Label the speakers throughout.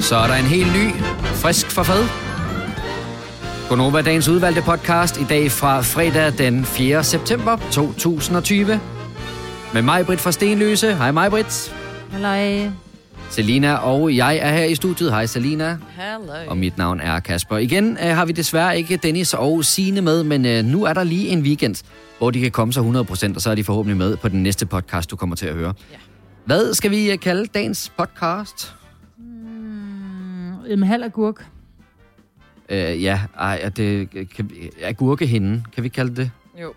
Speaker 1: så er der en helt ny, frisk for fad. Gonova dagens udvalgte podcast i dag fra fredag den 4. september 2020. Med mig, Britt fra Stenløse. Hej mig, Britt.
Speaker 2: Halløj.
Speaker 1: Selina og jeg er her i studiet. Hej Selina.
Speaker 2: Halløj.
Speaker 1: Og mit navn er Kasper. Igen øh, har vi desværre ikke Dennis og Sine med, men øh, nu er der lige en weekend, hvor de kan komme sig 100%, og så er de forhåbentlig med på den næste podcast, du kommer til at høre. Ja. Hvad skal vi øh, kalde dagens podcast?
Speaker 2: En halv agurk.
Speaker 1: Øh, ja, ej, er det, kan, vi- agurkehinden, kan vi kalde det?
Speaker 3: Jo.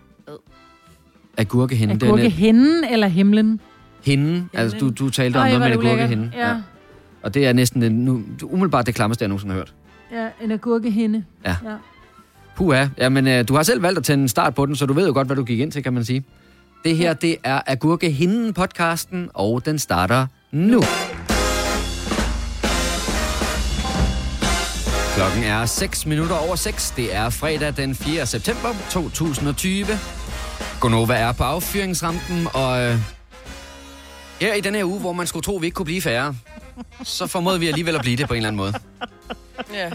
Speaker 1: Agurkehinden. den,
Speaker 2: Agurke
Speaker 1: øh,
Speaker 2: hinden eller himlen?
Speaker 1: Hende, altså du, du talte om
Speaker 2: Ej,
Speaker 1: noget
Speaker 2: hvor
Speaker 1: med en
Speaker 2: er det
Speaker 1: agurkehinde.
Speaker 2: ulækkert. Ja.
Speaker 1: Og det er næsten den, nu, umiddelbart det klammeste, jeg nogensinde har hørt.
Speaker 2: Ja, en agurkehinde.
Speaker 1: Ja.
Speaker 2: ja.
Speaker 1: Puha, jamen øh, du har selv valgt at tænde en start på den, så du ved jo godt, hvad du gik ind til, kan man sige. Det her, det er Agurkehinden-podcasten, og den starter nu. Klokken er 6 minutter over 6. Det er fredag den 4. september 2020. Gonova er på affyringsrampen, og øh, her i den her uge, hvor man skulle tro, vi ikke kunne blive færre, så formåede vi alligevel at blive det på en eller anden måde.
Speaker 3: Ja,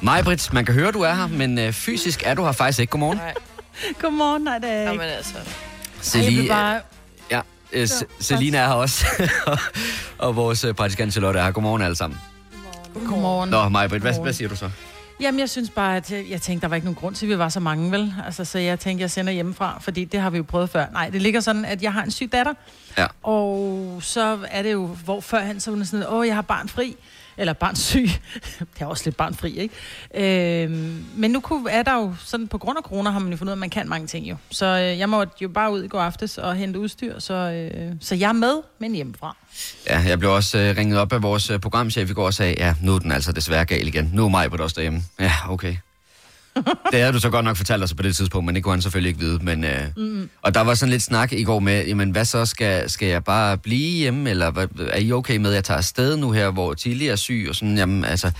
Speaker 1: Majbrit, man kan høre, du er her, men øh, fysisk er du her faktisk ikke. Godmorgen.
Speaker 3: nej.
Speaker 2: Godmorgen, nej, det er jeg ikke.
Speaker 3: Jamen altså.
Speaker 2: Ej, jeg
Speaker 1: Celie,
Speaker 2: blev bare...
Speaker 1: ja, øh, Se- Selina er her også, og vores øh, praktikant Charlotte er her. Godmorgen alle sammen.
Speaker 2: Godmorgen.
Speaker 1: Nå, Majbrit, hvad,
Speaker 2: Godmorgen.
Speaker 1: hvad siger du så?
Speaker 2: Jamen, jeg synes bare, at øh, jeg tænkte, der var ikke nogen grund til, at vi var så mange, vel? Altså, så jeg tænkte, jeg sender hjemmefra, fordi det har vi jo prøvet før. Nej, det ligger sådan, at jeg har en syg datter,
Speaker 1: Ja.
Speaker 2: og så er det jo, hvor førhen så var det sådan, åh, jeg har barn fri, eller barn syg. det er også lidt barn fri, ikke? Øhm, men nu kunne, er der jo sådan, på grund af corona har man jo fundet ud af, at man kan mange ting jo. Så øh, jeg måtte jo bare ud i går aftes og hente udstyr, så, øh, så jeg er med, men hjemmefra.
Speaker 1: Ja, jeg blev også øh, ringet op af vores øh, programchef i går og sagde, ja, nu er den altså desværre gal igen. Nu er Majbrit også derhjemme. Ja, okay. Det havde du så godt nok fortalt os på det tidspunkt, men det kunne han selvfølgelig ikke vide. Men, øh, mm. Og der var sådan lidt snak i går med, jamen hvad så, skal, skal jeg bare blive hjemme, eller hvad, er I okay med, at jeg tager afsted nu her, hvor Tilly er syg, og sådan, jamen altså...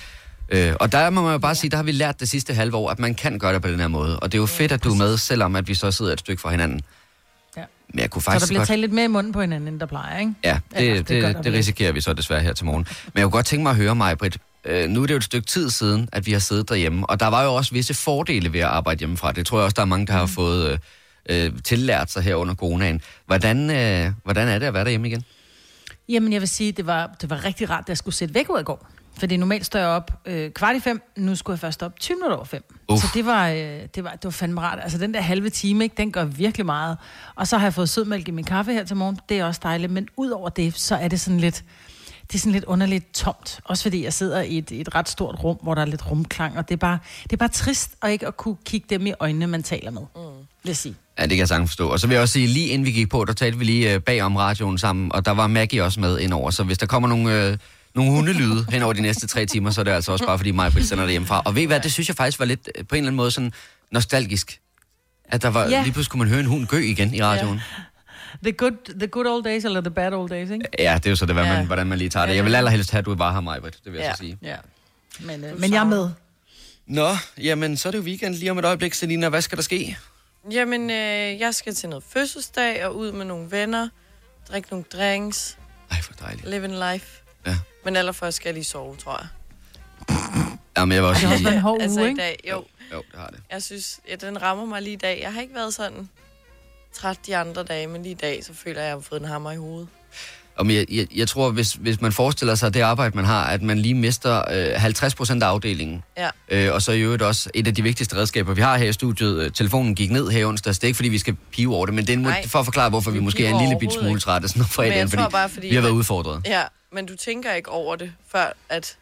Speaker 1: Øh, og der må man jo bare sige, der har vi lært det sidste halve år, at man kan gøre det på den her måde. Og det er jo fedt, at du er med, selvom at vi så sidder et stykke fra hinanden.
Speaker 2: Ja.
Speaker 1: Men jeg kunne
Speaker 2: Så
Speaker 1: faktisk
Speaker 2: der bliver
Speaker 1: godt...
Speaker 2: talt lidt mere i munden på hinanden, end der plejer, ikke?
Speaker 1: Ja, det,
Speaker 2: Ja,
Speaker 1: ja,
Speaker 2: det
Speaker 1: det,
Speaker 2: gør
Speaker 1: det,
Speaker 2: der
Speaker 1: det
Speaker 2: vel.
Speaker 1: risikerer vi så desværre her til morgen. Men jeg kunne godt tænke mig at høre mig, Britt. Øh, nu er det jo et stykke tid siden, at vi har siddet derhjemme, og der var jo også visse fordele ved at arbejde hjemmefra. Det tror jeg også, der er mange, der
Speaker 2: Mm.
Speaker 1: har fået øh, øh, tillært sig her under coronaen. Hvordan, øh, hvordan er det at være derhjemme igen?
Speaker 2: Jamen, jeg vil sige, det var, det var rigtig rart, at jeg skulle sætte væk ud i går. Fordi normalt står jeg op øh, kvart i fem, nu skulle jeg først op 20 minutter over fem.
Speaker 1: Uf.
Speaker 2: Så det var, øh, det, var, det var fandme rart. Altså den der halve time, ikke, den gør virkelig meget. Og så har jeg fået sødmælk i min kaffe her til morgen, det er også dejligt. Men ud over det, så er det sådan lidt, det er sådan lidt underligt tomt. Også fordi jeg sidder i et, et ret stort rum, hvor der er lidt rumklang. Og det er bare, det er bare trist at ikke at kunne kigge dem i øjnene, man taler med. Mm. Vil jeg sige.
Speaker 1: Ja, det kan jeg sagtens forstå. Og så vil jeg også sige, lige inden vi gik på, der talte vi lige øh, bag om radioen sammen, og der var Maggie også med indover. Så hvis der kommer nogle, øh, nogle hundelyde hen over de næste tre timer, så er det altså også bare, fordi mig sender det hjemmefra. Og ved I hvad, det synes jeg faktisk var lidt, øh, på en eller anden måde, sådan nostalgisk. At der var, ja.
Speaker 2: Ja.
Speaker 1: lige pludselig kunne man høre en hund gø igen i radioen.
Speaker 2: The good, the good old days, eller the bad old days, ikke?
Speaker 1: Ja, ja det er jo så det, hvad man,
Speaker 3: Ja.
Speaker 1: hvordan man lige tager det. Jeg vil allerhelst have, at du var her, Majbrit. Det vil jeg
Speaker 3: Ja.
Speaker 1: så sige.
Speaker 2: Ja. Men, øh, men jeg er med.
Speaker 1: Nå, jamen, så er det jo weekend lige om et øjeblik, Selina. Hvad skal der ske?
Speaker 3: Jamen, øh, jeg skal til noget fødselsdag og ud med nogle venner, drikke nogle drinks,
Speaker 1: Ej, for dejligt.
Speaker 3: live en life.
Speaker 1: Ja.
Speaker 3: Men allerførst skal jeg lige sove, tror jeg.
Speaker 1: Jamen, jeg var også
Speaker 2: Det har også
Speaker 1: lige...
Speaker 2: været en hård
Speaker 3: altså
Speaker 2: uge,
Speaker 3: i
Speaker 2: ikke?
Speaker 3: dag, jo.
Speaker 1: Jo, det har det.
Speaker 3: Jeg synes, ja, den rammer mig lige i dag. Jeg har ikke været sådan træt de andre dage, men lige i dag, så føler jeg, at jeg har fået en hammer i hovedet.
Speaker 1: Og men jeg, jeg, jeg tror, hvis, hvis man forestiller sig det arbejde, man har, at man lige mister øh, 50 procent af afdelingen,
Speaker 3: Ja.
Speaker 1: øh, og så i øvrigt også et af de vigtigste redskaber, vi har her i studiet. Øh, telefonen gik ned her i onsdags. Det er ikke, fordi vi skal pive over det, men det er en,
Speaker 3: Nej.
Speaker 1: for at forklare, hvorfor vi,
Speaker 3: Vi
Speaker 1: måske er en
Speaker 3: piver
Speaker 1: lille bit
Speaker 3: overhovedet
Speaker 1: smule
Speaker 3: ikke.
Speaker 1: trætte sådan om
Speaker 3: Men
Speaker 1: fredagen,
Speaker 3: jeg
Speaker 1: fordi,
Speaker 3: tror bare, fordi
Speaker 1: vi har været
Speaker 3: man-
Speaker 1: udfordret.
Speaker 3: Ja, men du tænker ikke over det, før at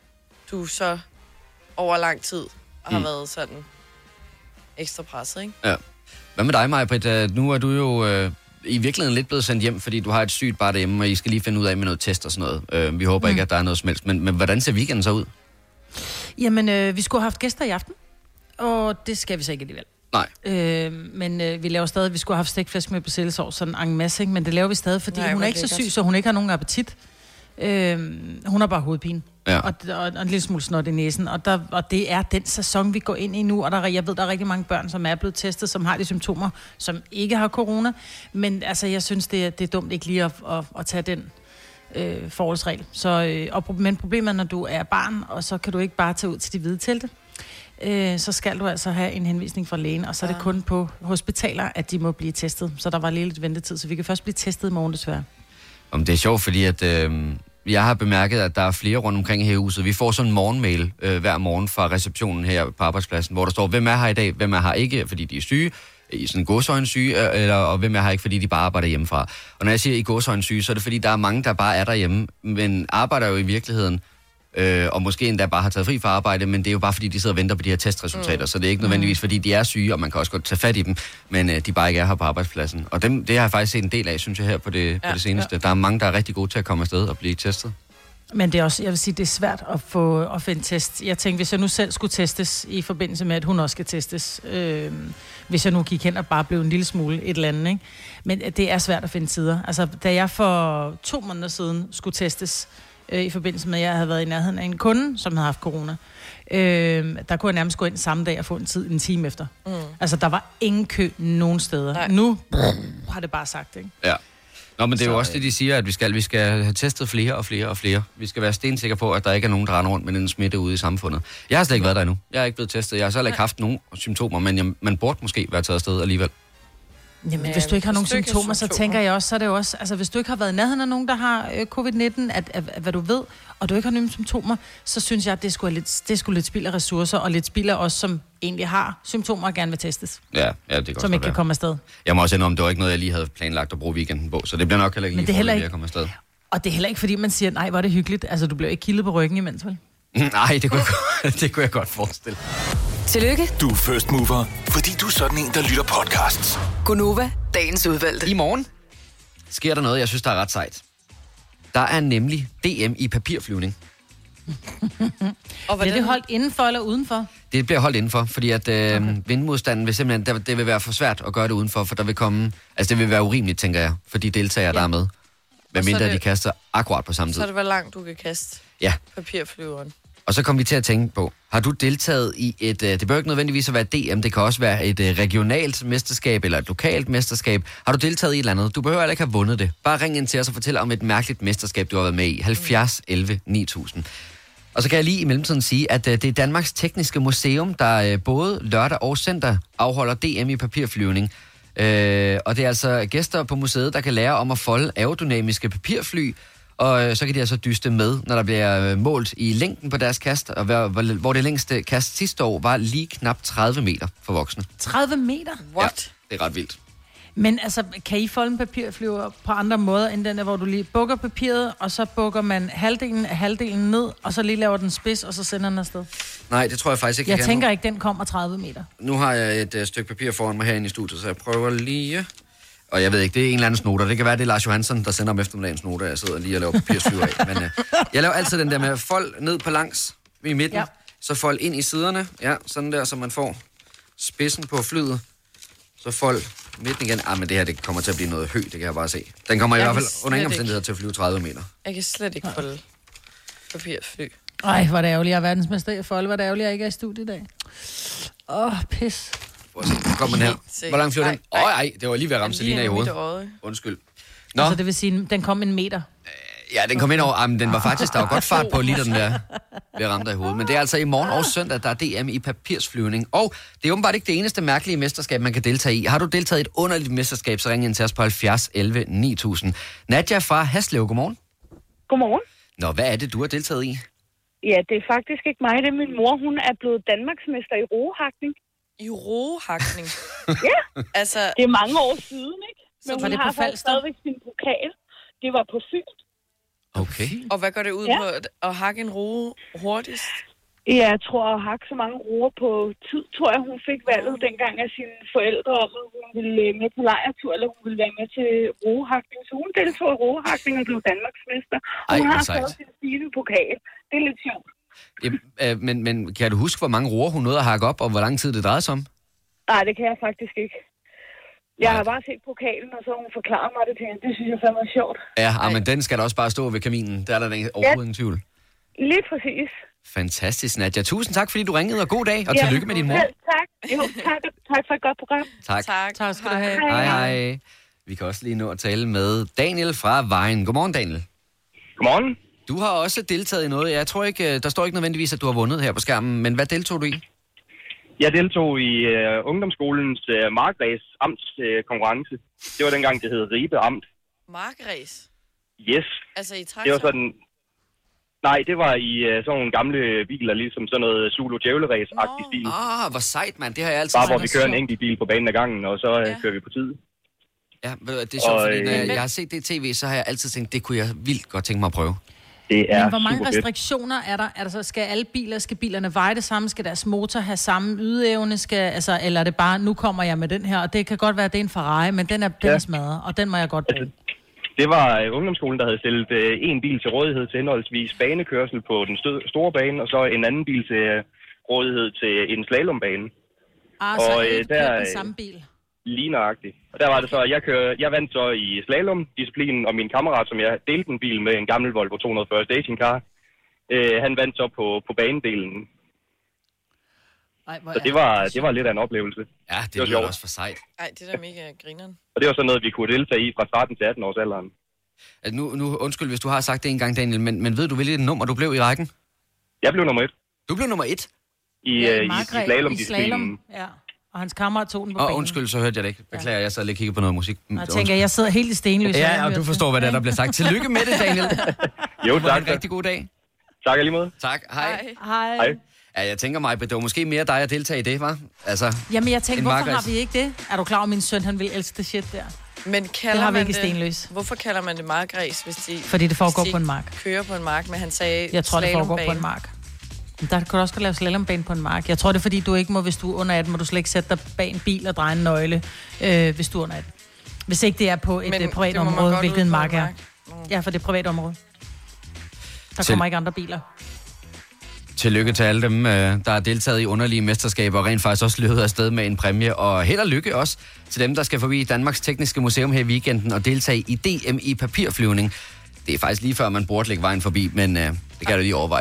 Speaker 3: du så over lang tid har
Speaker 1: Mm.
Speaker 3: mm. været sådan ekstra presset, ikke?
Speaker 1: Hvad med dig, Majbrit? Øh, Nu er du jo øh, i virkeligheden lidt blevet sendt hjem, fordi du har et sygt barn derhjemme, og I skal lige finde ud af med noget test og sådan noget. Øh, vi håber mm. ikke, at der er noget som helst. Men, men hvordan ser weekenden så ud?
Speaker 2: Jamen, øh, vi skulle have haft gæster i aften, og det skal vi så ikke alligevel.
Speaker 1: Nej.
Speaker 2: Øh, men øh, vi laver stadig, vi skulle have haft stegflæsk med persillesovs, sådan en masse, ikke? men det laver vi stadig, fordi
Speaker 3: Nej,
Speaker 2: Nej, hun
Speaker 3: hvor
Speaker 2: er ikke så
Speaker 3: lækkert.
Speaker 2: syg, så hun ikke har nogen appetit. Øh, hun har bare hovedpine.
Speaker 1: Ja.
Speaker 2: Og, og, og, en lille smule snot i næsen. Og, der, og det er den sæson, vi går ind i nu. Og der, er- jeg ved, der er rigtig mange børn, som er blevet testet, som har de symptomer, som ikke har corona. Men altså, jeg synes, det er, det er dumt ikke lige at, at, at tage den øh, forholdsregel. Så, øh, og, pro- men problemet er, når du er barn, og så kan du ikke bare tage ud til de hvide telte. Øh, så skal du altså have en henvisning fra lægen, og så er det
Speaker 3: Ah.
Speaker 2: kun på hospitaler, at de må blive testet. Så der var lige lidt ventetid, så vi kan først blive testet i morgen desværre.
Speaker 1: Om det er sjovt, fordi at, øh, jeg har bemærket, at der er flere rundt omkring her i huset. Vi får sådan en morgenmail øh, hver morgen fra receptionen her på arbejdspladsen, hvor der står, hvem er her i dag, hvem er her ikke, fordi de er syge, i sådan godsøjne syge, øh, eller, og hvem er her ikke, fordi de bare arbejder hjemmefra. Og når jeg siger i godsøjne syge, så er det fordi, der er mange, der bare er derhjemme, men arbejder jo i virkeligheden, øh, og måske endda bare har taget fri fra arbejde, men det er jo bare fordi, de sidder og venter på de her testresultater, mm. så det er ikke nødvendigvis fordi, de er syge, og man kan også godt tage fat i dem, men øh, de bare ikke er her på arbejdspladsen. Og dem, det har jeg faktisk set en del af, synes jeg, her på det, ja, på
Speaker 3: Ja,
Speaker 1: det seneste. Ja. Der er mange, der er rigtig gode til at komme afsted og blive testet.
Speaker 2: Men det er også, jeg vil sige, det er svært at få, at finde test. Jeg tænkte, hvis jeg nu selv skulle testes, i forbindelse med, at hun også skal testes, øh, hvis jeg nu gik hen og bare blev en lille smule et eller andet, ikke? Men øh, det er svært at finde tider. Altså, da jeg for to måneder siden skulle testes, øh, i forbindelse med, at jeg havde været i nærheden af en kunde, som havde haft corona, øh, der kunne jeg nærmest gå ind samme dag og få en tid en time efter. Mm. Altså, der var ingen kø nogen steder.
Speaker 3: Nej.
Speaker 2: Nej. Nu har det bare sagt, ikke?
Speaker 1: Ja. Nå, men det er jo
Speaker 3: Så,
Speaker 1: også det, de siger, at vi skal, vi skal have testet flere og flere og flere. Vi skal være stensikre på, at der ikke er nogen, der render rundt med den smitte ude i samfundet. Jeg har slet ikke været der endnu. Jeg er ikke blevet testet. Jeg har selv ikke haft nogen symptomer, men jeg, man burde måske være taget afsted alligevel.
Speaker 2: Jamen,
Speaker 3: Ja,
Speaker 2: hvis du ikke har
Speaker 3: Øh,
Speaker 2: nogen
Speaker 3: hvis du ikke har
Speaker 2: symptomer, så
Speaker 3: symptomer.
Speaker 2: tænker jeg også, så er det jo også, altså hvis du ikke har været i nærheden af nogen, der har øh, covid-19, at, at, at, hvad du ved, og du ikke har nogen symptomer, så synes jeg, at det skulle lidt, det skulle lidt spild af ressourcer, og lidt spild af os, som egentlig har symptomer og gerne vil testes,
Speaker 1: Ja, ja det kan også
Speaker 2: som
Speaker 1: godt
Speaker 2: ikke kan
Speaker 1: være.
Speaker 2: komme afsted.
Speaker 1: Jeg må også indrømme, det var ikke noget, jeg lige havde planlagt at bruge weekenden på, så det bliver nok heller ikke
Speaker 2: Men
Speaker 1: lige
Speaker 2: det er heller
Speaker 1: foreløbig
Speaker 2: ikke-
Speaker 1: at komme afsted.
Speaker 2: Og det er heller ikke, fordi man siger, nej, hvor er det hyggeligt. Altså, du bliver ikke kildet på ryggen imens, vel?
Speaker 1: Nej, det kunne, jeg, godt- det kunne jeg godt forestille.
Speaker 4: Tillykke,
Speaker 5: Du er first mover, fordi du er sådan en, der lytter podcasts.
Speaker 4: Gunova, dagens udvalgte.
Speaker 1: I morgen sker der noget, jeg synes, der er ret sejt. Der er nemlig DM i papirflyvning.
Speaker 3: Og
Speaker 2: Bliver det holdt indenfor eller udenfor?
Speaker 1: Det bliver holdt indenfor, fordi at øh, okay. vindmodstanden vil simpelthen, der, det vil være for svært at gøre det udenfor, for der vil komme, altså det vil være urimeligt, tænker jeg, for de deltagere, ja. der er med. Hvad
Speaker 3: så er
Speaker 1: mindre
Speaker 3: det-
Speaker 1: de kaster akkurat på samme tid.
Speaker 3: Så er det, hvor langt du kan kaste
Speaker 1: Ja,
Speaker 3: papirflyveren.
Speaker 1: og så kom vi til at tænke på, har du deltaget i et, øh, det behøver ikke nødvendigvis at være DM, det kan også være et øh, regionalt mesterskab eller et lokalt mesterskab. Har du deltaget i et eller andet? Du behøver heller ikke have vundet det. Bare ring ind til os og fortæl om et mærkeligt mesterskab, du har været med i. 70 11 9000. Og så kan jeg lige i mellemtiden sige, at øh, det er Danmarks Tekniske Museum, der øh, både lørdag og søndag afholder DM i papirflyvning. Øh, og det er altså gæster på museet, der kan lære om at folde aerodynamiske papirfly, og øh, så kan de altså dyste med, når der bliver øh, målt i længden på deres kast, og hvor, hvor, hvor det længste kast sidste år var lige knap 30 meter for voksne.
Speaker 2: 30 meter?
Speaker 3: What?
Speaker 1: Ja, det er ret vildt.
Speaker 2: Men altså, kan I folde en papirflyver på andre måder, end den der, hvor du lige bukker papiret, og så bukker man halvdelen af halvdelen ned, og så lige laver den spids, og så sender den afsted?
Speaker 1: Nej, det tror jeg faktisk ikke,
Speaker 2: Jeg
Speaker 1: kan
Speaker 2: tænker ikke, den kommer 30 meter.
Speaker 1: Nu har jeg et øh, stykke papir foran mig herinde i studiet, så jeg prøver lige... Og jeg ved ikke, det er en eller andens noter. Det kan være, det er Lars Johansson, der sender om eftermiddagens noter. Jeg sidder lige og laver papirsyre af. Men øh, jeg laver altid den der med fold ned på langs i midten. Ja.
Speaker 2: Ja.
Speaker 1: Så fold ind i siderne. Ja, sådan der, så man får spidsen på flyet. Så fold midten igen. Ah, men det her, det kommer til at blive noget hø, det kan jeg bare se. Den kommer i
Speaker 3: Jeg
Speaker 1: hvert
Speaker 3: kan
Speaker 1: fald under
Speaker 3: slet
Speaker 1: ingen
Speaker 3: ikke.
Speaker 1: omstændigheder til at flyve 30 meter.
Speaker 3: Jeg kan slet ikke holde papirfly.
Speaker 2: Ej, hvor er det ærgerligt, jeg er verdensmester i folde. Hvor er det ærgerligt, jeg ikke er i studiet i dag. Åh, oh, pis.
Speaker 1: Prøv at se, nu kommer den
Speaker 3: Helt
Speaker 1: her.
Speaker 3: sikkert.
Speaker 1: Hvor langt flyver den? Åh,
Speaker 3: Ej, ej.
Speaker 1: nej, det var lige ved at ramme
Speaker 3: Lige
Speaker 1: Selina i
Speaker 3: ind i mit
Speaker 1: hovedet.
Speaker 3: øje.
Speaker 1: Undskyld.
Speaker 2: Nå.
Speaker 1: Nå,
Speaker 2: Altså, det vil sige, den kom en meter.
Speaker 1: Ja, den kom ind over. Jamen, den var faktisk, der var godt fart på, lige da den der blev ramt af hovedet. Men det er altså i morgen og søndag, der er DM i papirsflyvning. Og det er åbenbart ikke det eneste mærkelige mesterskab, man kan deltage i. Har du deltaget i et underligt mesterskab, så ring ind til os på 70 11 9000. Nadja fra Haslev, godmorgen.
Speaker 6: Godmorgen.
Speaker 1: Nå, hvad er det, du har deltaget i?
Speaker 6: Ja, det er faktisk ikke mig. Det er min mor. Hun er blevet Danmarksmester i roehakning.
Speaker 3: I roehakning. ja. Altså,
Speaker 6: Det er mange år siden, ikke?
Speaker 2: var
Speaker 6: Men hun
Speaker 2: det på
Speaker 6: har faktisk
Speaker 2: Falster?
Speaker 6: stadigvæk sin pokal. Det var på Fyn.
Speaker 1: Okay.
Speaker 3: og hvad går det ud
Speaker 6: Ja.
Speaker 3: ja. på? At- At hakke en roe hurtigst?
Speaker 6: Ja, jeg tror, at hakke så mange roer på tid, tror jeg, hun fik valget dengang af sine forældre om, at hun ville øh, med på lejertur, eller hun ville være med til roehakning. Så hun deltog i roehakning og blev Danmarksmester. Og
Speaker 1: Ej,
Speaker 6: hun
Speaker 1: hvor
Speaker 6: har
Speaker 1: sejt.
Speaker 6: fået sin stigende pokal. Det er lidt sjovt.
Speaker 1: Jamen, øh, men, men kan du huske, hvor mange roer hun nåede at hakke op, og hvor lang tid det drejede sig om?
Speaker 6: Nej, det kan jeg faktisk ikke. Jeg
Speaker 1: Nej.
Speaker 6: har bare set pokalen, og så har hun forklaret mig det til hende. Det synes jeg fandme er sjovt.
Speaker 1: Ja, ah, men den skal da også bare stå ved kaminen. Der er der da ingen- overhovedet ingen tvivl.
Speaker 6: Lige præcis.
Speaker 1: Fantastisk, Nadja. Tusind tak, fordi du ringede, og god dag, og
Speaker 6: Ja,
Speaker 1: tillykke med din mor.
Speaker 6: Selv tak. Jo, tak, tak for et godt program.
Speaker 1: Tak.
Speaker 2: Tak skal du have.
Speaker 1: Hej, hej. Vi kan også lige nå at tale med Daniel fra Vejen. Godmorgen, Daniel.
Speaker 7: Godmorgen.
Speaker 1: Du har også deltaget i noget. Jeg tror ikke, øh, der står ikke nødvendigvis, at du har vundet her på skærmen, men hvad deltog du i?
Speaker 7: Jeg deltog i øh, ungdomsskolens øh, markræs amtskonkurrence. Øh, konkurrence. det var dengang, det hed Ribe Amt.
Speaker 3: Markræs.
Speaker 7: Yes.
Speaker 3: Altså i traktor.
Speaker 7: Det var sådan... Nej, det var i øh, sådan nogle gamle biler, ligesom sådan noget zulu djævleræs agtig
Speaker 3: Nå.
Speaker 7: stil.
Speaker 1: Åh, oh, hvor sejt, mand. Det har jeg altid
Speaker 7: Bare hvor
Speaker 1: sagt.
Speaker 7: vi kører en enkelt bil på banen ad gangen, og så øh,
Speaker 3: Ja.
Speaker 7: kører vi på tid.
Speaker 1: Ja, ved du hvad, det er sjovt,
Speaker 7: Og,
Speaker 1: fordi når
Speaker 7: øh,
Speaker 1: jeg, jeg har set det i tv, så har jeg altid tænkt, det kunne jeg vildt godt tænke mig at prøve.
Speaker 7: Det er
Speaker 2: Men hvor mange
Speaker 7: super fedt.
Speaker 2: restriktioner er der? Altså, skal alle biler, skal bilerne veje det samme? Skal deres motor have samme ydeevne? Skal, altså, eller er det bare, nu kommer jeg med den her, og det kan godt være, at det er en Ferrari, men den er, den
Speaker 7: Ja. Altså,
Speaker 2: er smadret, og den må jeg godt bruge.
Speaker 7: Det var øh, ungdomsskolen, der havde stillet øh, en bil til rådighed til henholdsvis banekørsel på den stø- store bane, og så en anden bil til øh, rådighed til en slalombane.
Speaker 2: Ah, så
Speaker 7: og, øh,
Speaker 2: ikke
Speaker 7: der
Speaker 2: kørt
Speaker 7: er-
Speaker 2: den samme bil.
Speaker 7: Ligneragtigt. Og der var det så, at jeg, kører, jeg vandt så i slalom-disciplinen, og min kammerat, som jeg delte en bil med, en gammel Volvo 240 stationcar, øh, han vandt så på, på banedelen.
Speaker 2: Ej, hvor
Speaker 7: Så
Speaker 2: er
Speaker 7: det var, det var lidt af en oplevelse.
Speaker 1: Ja, det,
Speaker 7: Det var
Speaker 1: det lyder
Speaker 7: sjovt.
Speaker 1: også for sejt.
Speaker 3: Ej, det er da mega grineren.
Speaker 7: Og det var sådan noget, vi kunne deltage i fra 13 til 18 års alderen.
Speaker 1: Altså, nu, nu, undskyld, hvis du har sagt det en gang, Daniel, men, men ved du, hvilket nummer du blev i rækken?
Speaker 7: Jeg blev nummer et
Speaker 1: Du blev nummer et.
Speaker 7: i,
Speaker 2: Ja,
Speaker 7: ja, øh, i, i
Speaker 2: markræs,
Speaker 7: slalom-disciplinen.
Speaker 2: Ja, og hans kammerat tog den på
Speaker 1: Og
Speaker 2: banen.
Speaker 1: undskyld, så hørte jeg det ikke. Beklager, jeg sad lige og kiggede på noget musik. Mm,
Speaker 2: Og jeg tænker, jeg sidder helt i stenløs. jeg
Speaker 1: Ja,
Speaker 2: har
Speaker 1: og du
Speaker 2: hørt
Speaker 1: forstår,
Speaker 2: det.
Speaker 1: hvad det er, der bliver sagt. Tillykke med det, Daniel.
Speaker 7: Jo,
Speaker 1: Du har
Speaker 7: tak.
Speaker 1: en rigtig god dag.
Speaker 7: Tak alligevel.
Speaker 1: Tak. Hej.
Speaker 2: Hej.
Speaker 7: Hej.
Speaker 1: Ja, jeg tænker mig, det var måske mere dig at deltage i det, var? Altså,
Speaker 2: Jamen, jeg tænkte,
Speaker 1: En
Speaker 2: hvorfor har
Speaker 1: markræs.
Speaker 2: vi ikke det? Er du klar over, at min søn, han vil elske det shit der?
Speaker 3: Men kalder
Speaker 2: har vi
Speaker 3: man
Speaker 2: ikke i Stenløs.
Speaker 3: Hvorfor kalder man det markræs, hvis de...
Speaker 2: Fordi det foregår
Speaker 3: hvis de
Speaker 2: på en mark.
Speaker 3: kører på en mark, men han sagde
Speaker 2: Jeg tror, det foregår på
Speaker 3: slalombane.
Speaker 2: en mark. Men Der kan du også godt lave slalombane på en mark. Jeg tror, det er fordi, du ikke må, hvis du er under 18, må du slet ikke sætte dig bag en bil og dreje en nøgle, øh, hvis du er under 18. Hvis ikke det er på et
Speaker 3: Men
Speaker 2: men privat
Speaker 3: det må man
Speaker 2: område,
Speaker 3: godt ude
Speaker 2: hvilket en
Speaker 3: på
Speaker 2: mark
Speaker 3: en
Speaker 2: er.
Speaker 3: mark.
Speaker 2: Ja, for det er privat område. Der
Speaker 1: Til-
Speaker 2: kommer ikke andre biler.
Speaker 1: Tillykke til alle dem, øh, der har deltaget i underlige mesterskaber og rent faktisk også løbet afsted med en præmie. Og held og lykke også til dem, der skal forbi Danmarks Tekniske Museum her i weekenden og deltage i DM i papirflyvning. Det er faktisk lige før, man burde lægge vejen forbi, men øh, det kan du lige overveje.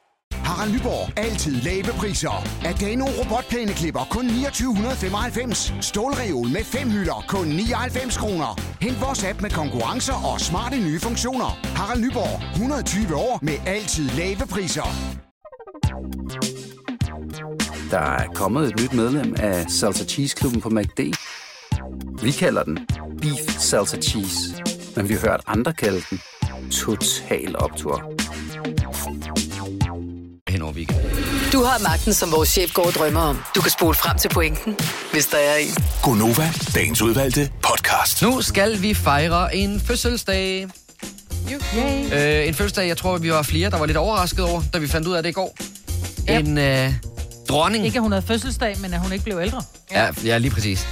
Speaker 8: Harald Nyborg. Altid lave priser. Adano robotplæneklipper kun 2995. Stålreol med fem hylder kun 99 kroner. Hent vores app med konkurrencer og smarte nye funktioner. Harald Nyborg. 120 år med altid lave priser.
Speaker 9: Der er kommet et nyt medlem af Salsa Cheese Klubben på MACD. Vi kalder den Beef Salsa Cheese, men vi har hørt andre kalde den Total Optor.
Speaker 1: Hen over weekenden.
Speaker 4: Du har magten, som vores chef går og drømmer om. Du kan spole frem til pointen, hvis der er en.
Speaker 5: Gonova, dagens udvalgte podcast.
Speaker 1: Nu skal vi fejre en fødselsdag. Øh, en fødselsdag, jeg tror, vi var flere, der var lidt overrasket over, da vi fandt ud af det i går. En øh, dronning.
Speaker 2: Ikke at hun havde fødselsdag, men at hun ikke blev ældre.
Speaker 1: Ja, ja lige præcis.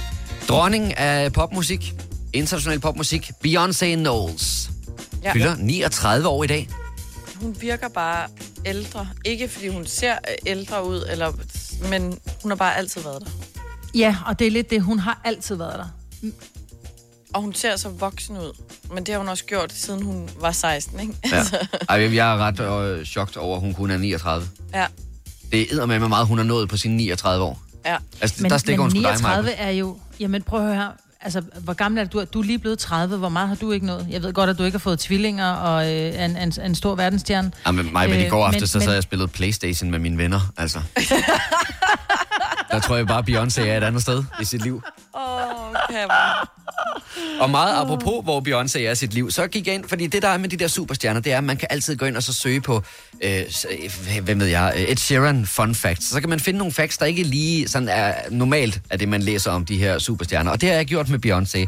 Speaker 1: Dronning af popmusik, international popmusik, Beyoncé Knowles, ja.
Speaker 3: Ja.
Speaker 1: fylder 39 år i dag.
Speaker 3: Hun virker bare ældre. Ikke fordi hun ser ældre ud, eller, men hun har bare altid været der.
Speaker 2: Ja, og det er lidt det, hun har altid været der.
Speaker 3: Og hun ser så voksen ud. Men det har hun også gjort, siden hun var 16, ikke?
Speaker 1: Ja. Ej, jeg er ret øh, chokt over, at hun kun er 39.
Speaker 3: ja.
Speaker 1: Det er med hvor meget, hun har nået på sine 39 år.
Speaker 3: ja.
Speaker 1: Altså,
Speaker 2: Men,
Speaker 1: der
Speaker 2: men
Speaker 1: stikker hun sgu dig,
Speaker 2: 39
Speaker 1: Maja.
Speaker 2: er jo... Jamen prøv at høre her. Altså, hvor gammel er du? Du er lige blevet 30. Hvor meget har du ikke nået? Jeg ved godt, at du ikke har fået tvillinger og øh, er en, er en, er en stor verdensstjerne.
Speaker 1: Jamen, Maja, men i
Speaker 2: Øh,
Speaker 1: går
Speaker 2: men-
Speaker 1: aften, så sad
Speaker 2: men-
Speaker 1: jeg og spillede Playstation med mine venner, altså. Der tror jeg bare, Beyoncé er et andet sted i sit liv.
Speaker 3: Åh, oh, kæmper.
Speaker 1: Og meget apropos, hvor Beyoncé er i sit liv, så gik jeg ind, fordi det der er med de der superstjerner, det er, at man kan altid gå ind og så søge på, øh, s- øh, hvem ved jeg, øh, Ed Sheeran fun facts. Så kan man finde nogle facts, der ikke lige sådan er normalt af det, man læser om de her superstjerner. Og det har jeg gjort med Beyoncé.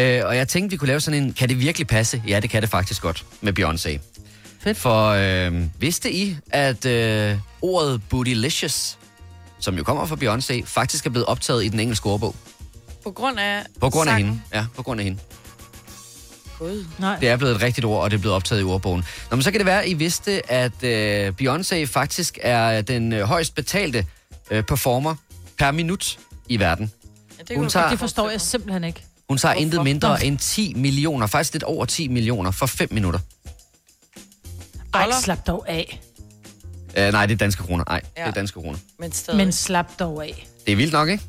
Speaker 1: Øh, og jeg tænkte, vi kunne lave sådan en, kan det virkelig passe? Ja, det kan det faktisk godt, med Beyoncé. Fedt. For øh, vidste I, at øh, ordet bootylicious, som jo kommer fra Beyoncé, faktisk er blevet optaget i den engelske ordbog?
Speaker 3: På grund af...
Speaker 1: På grund af
Speaker 3: sangen.
Speaker 1: hende. Ja, på grund af hende.
Speaker 3: Gud. Nej.
Speaker 1: Det er blevet et rigtigt ord, og det er blevet optaget i ordbogen. Nå, men så kan det være, at I vidste, at øh, Beyoncé faktisk er den øh, højst betalte øh, performer per minut i verden.
Speaker 2: Ja,
Speaker 1: kunne Hun jeg tager- godt
Speaker 2: Det forstår jeg simpelthen ikke.
Speaker 1: Hun tager intet
Speaker 2: Nå.
Speaker 1: mindre end 10 millioner, faktisk lidt over 10 millioner, for 5 minutter.
Speaker 2: Ej, slap dog af.
Speaker 1: Uh, nej, det er danske kroner. Nej, ja.
Speaker 2: Ja.
Speaker 1: det er danske kroner.
Speaker 3: Men stadig.
Speaker 2: Men slap dog af.
Speaker 1: Det er vildt nok, ikke?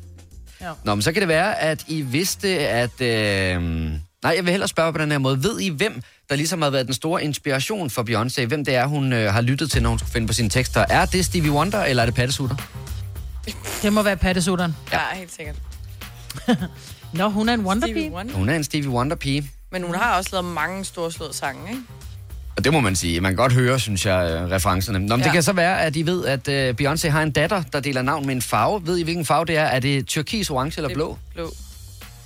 Speaker 2: Ja.
Speaker 1: Nå, men så kan det være, at I vidste, at... Øh... Nej, jeg vil hellere spørge på den her måde. Ved I, hvem der ligesom har været den store inspiration for Beyoncé? Hvem det er, hun øh, har lyttet til, når hun skulle finde på sine tekster? Er det Stevie Wonder, eller er det Pattesutter?
Speaker 2: Det må være pattesutteren.
Speaker 3: Ja, helt sikkert.
Speaker 2: Nå, hun er en wonder
Speaker 3: Stevie
Speaker 2: pige.
Speaker 3: Wonder.
Speaker 1: Hun er en Stevie Wonder-pige.
Speaker 3: Men hun har også lavet mange storslåede sange, ikke?
Speaker 1: Og det må man sige. Man kan godt høre, synes jeg, øh, referencerne. Nå, men ja. det
Speaker 3: Ja.
Speaker 1: kan så være, at I ved, at øh, Beyoncé har en datter, der deler navn med en farve. Ved I, hvilken farve det er? Er det turkis, orange eller
Speaker 3: Det-
Speaker 1: blå?
Speaker 3: Blå.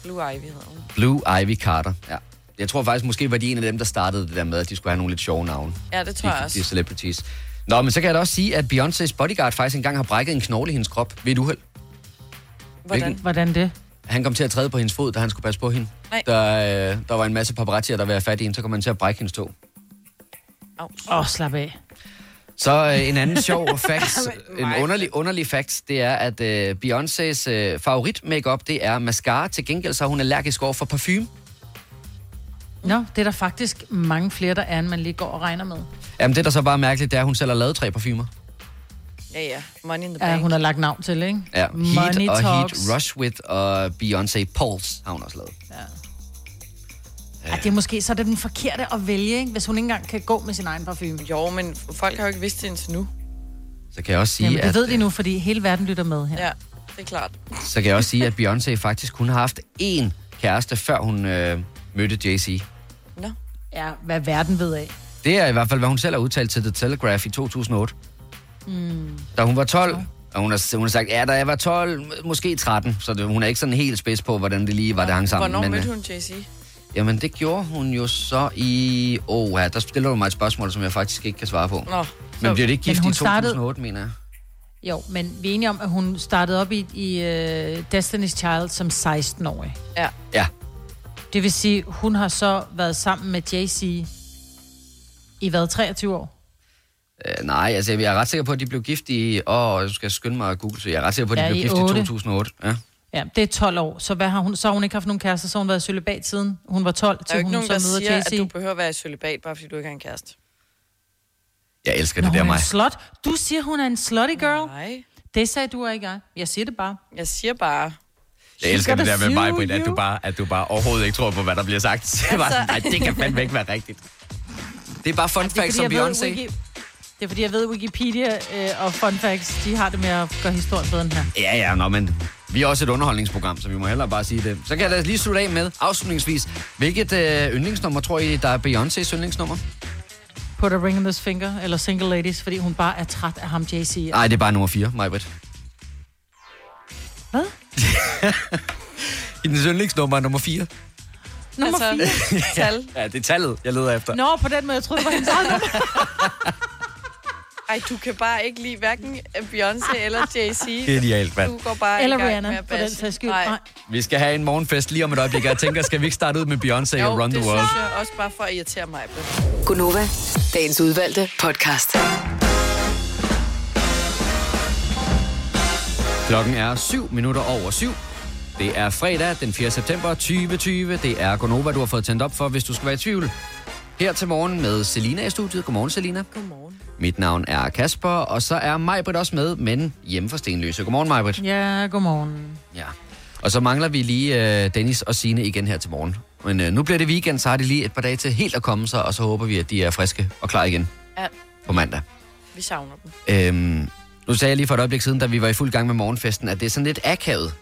Speaker 3: Blue Ivy hedder hun.
Speaker 1: Blue Ivy Carter, ja. Jeg tror faktisk, måske var de en af dem, der startede det der med, at de skulle have nogle lidt sjove navne.
Speaker 3: Ja, det tror jeg
Speaker 1: de,
Speaker 3: også.
Speaker 1: De celebrities. Nå, men så kan jeg da også sige, at Beyoncé's bodyguard faktisk engang har brækket en knogle i hendes krop ved et uheld. Hvilken?
Speaker 2: Hvordan det?
Speaker 1: Han kom til at træde på hendes fod, da han skulle passe på hende.
Speaker 3: Nej.
Speaker 1: Der, øh, der var en masse paparazzier, der var fat i hende, så kom han til at brække hendes tog.
Speaker 2: Åh, oh, slap af.
Speaker 1: Så øh, en anden sjov fact, en underlig, underlig fact, det er, at øh, Beyoncé's øh, favorit makeup det er mascara. Til gengæld så er hun allergisk over for parfume.
Speaker 2: Nå, det er der faktisk mange flere, der er, end man lige går og regner med.
Speaker 1: Jamen det, der så bare er mærkeligt, det er, at hun selv har lavet tre parfumer.
Speaker 3: Ja, ja. Money in the
Speaker 2: Ja,
Speaker 3: Bank.
Speaker 2: hun har lagt navn til, ikke?
Speaker 1: Ja, Heat
Speaker 2: Money
Speaker 1: og
Speaker 2: Talks.
Speaker 1: Heat Rush With og Beyoncé Pulse har hun også lavet.
Speaker 2: Ja. Ja, det er måske så er det den forkerte at vælge, ikke? hvis hun ikke engang kan gå med sin egen parfume.
Speaker 3: Jo, men folk har jo ikke vidst det indtil nu.
Speaker 1: Så kan jeg også sige,
Speaker 2: Jamen, det
Speaker 1: at,
Speaker 2: ved de nu, fordi hele verden lytter med her.
Speaker 3: Ja, det er klart.
Speaker 1: så kan jeg også sige, at Beyoncé faktisk kun har haft én kæreste, før hun øh, mødte Jay-Z.
Speaker 2: Ja, hvad verden ved af.
Speaker 1: Det er i hvert fald, hvad hun selv har udtalt til The Telegraph i 2008.
Speaker 2: Mm.
Speaker 1: Da hun var 12, og hun har, hun har sagt, ja, da jeg var 12, må- måske 13, så det, hun er ikke sådan helt spids på, hvordan det lige var, det hang sammen.
Speaker 3: Hvornår
Speaker 1: øh,
Speaker 3: mødte hun Jay-Z?
Speaker 1: Jamen, det gjorde hun jo så i... Åh, oh, ja, der stiller du mig et spørgsmål, som jeg faktisk ikke kan svare på.
Speaker 3: Nå,
Speaker 1: Men bliver det ikke
Speaker 2: Men
Speaker 1: gift i
Speaker 2: hun
Speaker 1: 2008,
Speaker 2: startede-
Speaker 1: mener jeg?
Speaker 2: Jo, men vi er enige om, at hun startede op i, i uh, Destiny's Child som 16-årig.
Speaker 3: Ja.
Speaker 1: Ja.
Speaker 2: Det vil sige, hun har så været sammen med Jay-Z i hvad, 23 år?
Speaker 1: Øh, nej, altså jeg er ret sikker på, at de blev gift i... Åh, oh, jeg skal skynde mig at google, så jeg er ret sikker på, at de
Speaker 2: Ja,
Speaker 1: blev
Speaker 2: i
Speaker 1: gift
Speaker 2: 8.
Speaker 1: i 2008. Ja.
Speaker 2: Ja, det er 12 år. Så, hvad har hun, så har hun ikke haft nogen kærester, så har hun været i cølibat siden hun var 12,
Speaker 3: Der er jo
Speaker 2: til
Speaker 3: ikke
Speaker 2: hun
Speaker 3: nogen,
Speaker 2: så
Speaker 3: der
Speaker 2: møder
Speaker 3: siger,
Speaker 2: Jay-Z.
Speaker 3: at du behøver at være i cølibat, bare fordi du ikke har en kæreste.
Speaker 1: Jeg elsker
Speaker 2: Nå,
Speaker 1: det der,
Speaker 2: hun er
Speaker 1: mig.
Speaker 2: en slut. Du siger, hun er en slutty girl.
Speaker 3: Nej.
Speaker 2: Det sagde du og ikke jeg. Jeg siger det bare.
Speaker 3: Jeg siger bare...
Speaker 1: Jeg elsker det der med mig, Britt, at du, bare, at du bare overhovedet ikke tror på, hvad der bliver sagt. Altså... Bare, sådan, nej, det kan fandme ikke være rigtigt. Det er bare fun facts som Beyoncé.
Speaker 2: Det er fordi, jeg ved, Wikipedia øh, og fun facts, de har det med at gøre historien bedre end her.
Speaker 1: Ja, ja, nå, men vi er også et underholdningsprogram, så vi må hellere bare sige det. Så kan jeg da lige slutte af med, afslutningsvis, hvilket øh, yndlingsnummer tror I, der er Beyoncé's yndlingsnummer?
Speaker 2: Put a ring on this finger, eller single ladies, fordi hun bare er træt af ham, Jay-Z.
Speaker 1: Nej, det er bare nummer 4, Majbrit.
Speaker 2: Hvad?
Speaker 1: Hendes yndlingsnummer er nummer 4.
Speaker 2: Nummer 4. Altså... Tal.
Speaker 1: ja, det er tallet, jeg leder efter.
Speaker 2: Nå, på den måde, jeg troede, det var hendes eget nummer.
Speaker 3: Ej, du kan bare ikke lide hverken Beyoncé eller Jay-Z.
Speaker 1: Genialt, mand.
Speaker 3: Du går bare
Speaker 2: Eller
Speaker 3: i gang
Speaker 2: Rihanna,
Speaker 3: med at
Speaker 2: for den
Speaker 3: bashe.
Speaker 2: sags skyld. Ah,
Speaker 3: Nej,
Speaker 1: Vi skal have en morgenfest lige om et øjeblik, og jeg tænker, skal vi ikke starte ud med Beyoncé og Run
Speaker 3: det
Speaker 1: the World?
Speaker 3: synes jeg også bare for at irritere mig.
Speaker 4: Gunova, dagens udvalgte podcast.
Speaker 1: Klokken er 7 minutter over 7. Det er fredag den 4. september 2020. Det er Gonova, du har fået tændt op for, hvis du skal være i tvivl. Her til morgen med Selina i studiet. Godmorgen, Selina. Godmorgen. Mit navn er Kasper, og så er Majbrit også med, men hjemme fra Stenløse. Godmorgen, Majbrit.
Speaker 2: Ja, godmorgen.
Speaker 1: Ja. Og så mangler vi lige øh, Dennis og Sine igen her til morgen. Men øh, nu bliver det weekend, så har de lige et par dage til helt at komme sig, og så håber vi, at de er friske og klar igen
Speaker 3: Ja,
Speaker 1: på mandag.
Speaker 3: vi savner dem.
Speaker 1: Øhm, nu sagde jeg lige for et øjeblik siden, da vi var i fuld gang med morgenfesten, at det er sådan lidt akavet.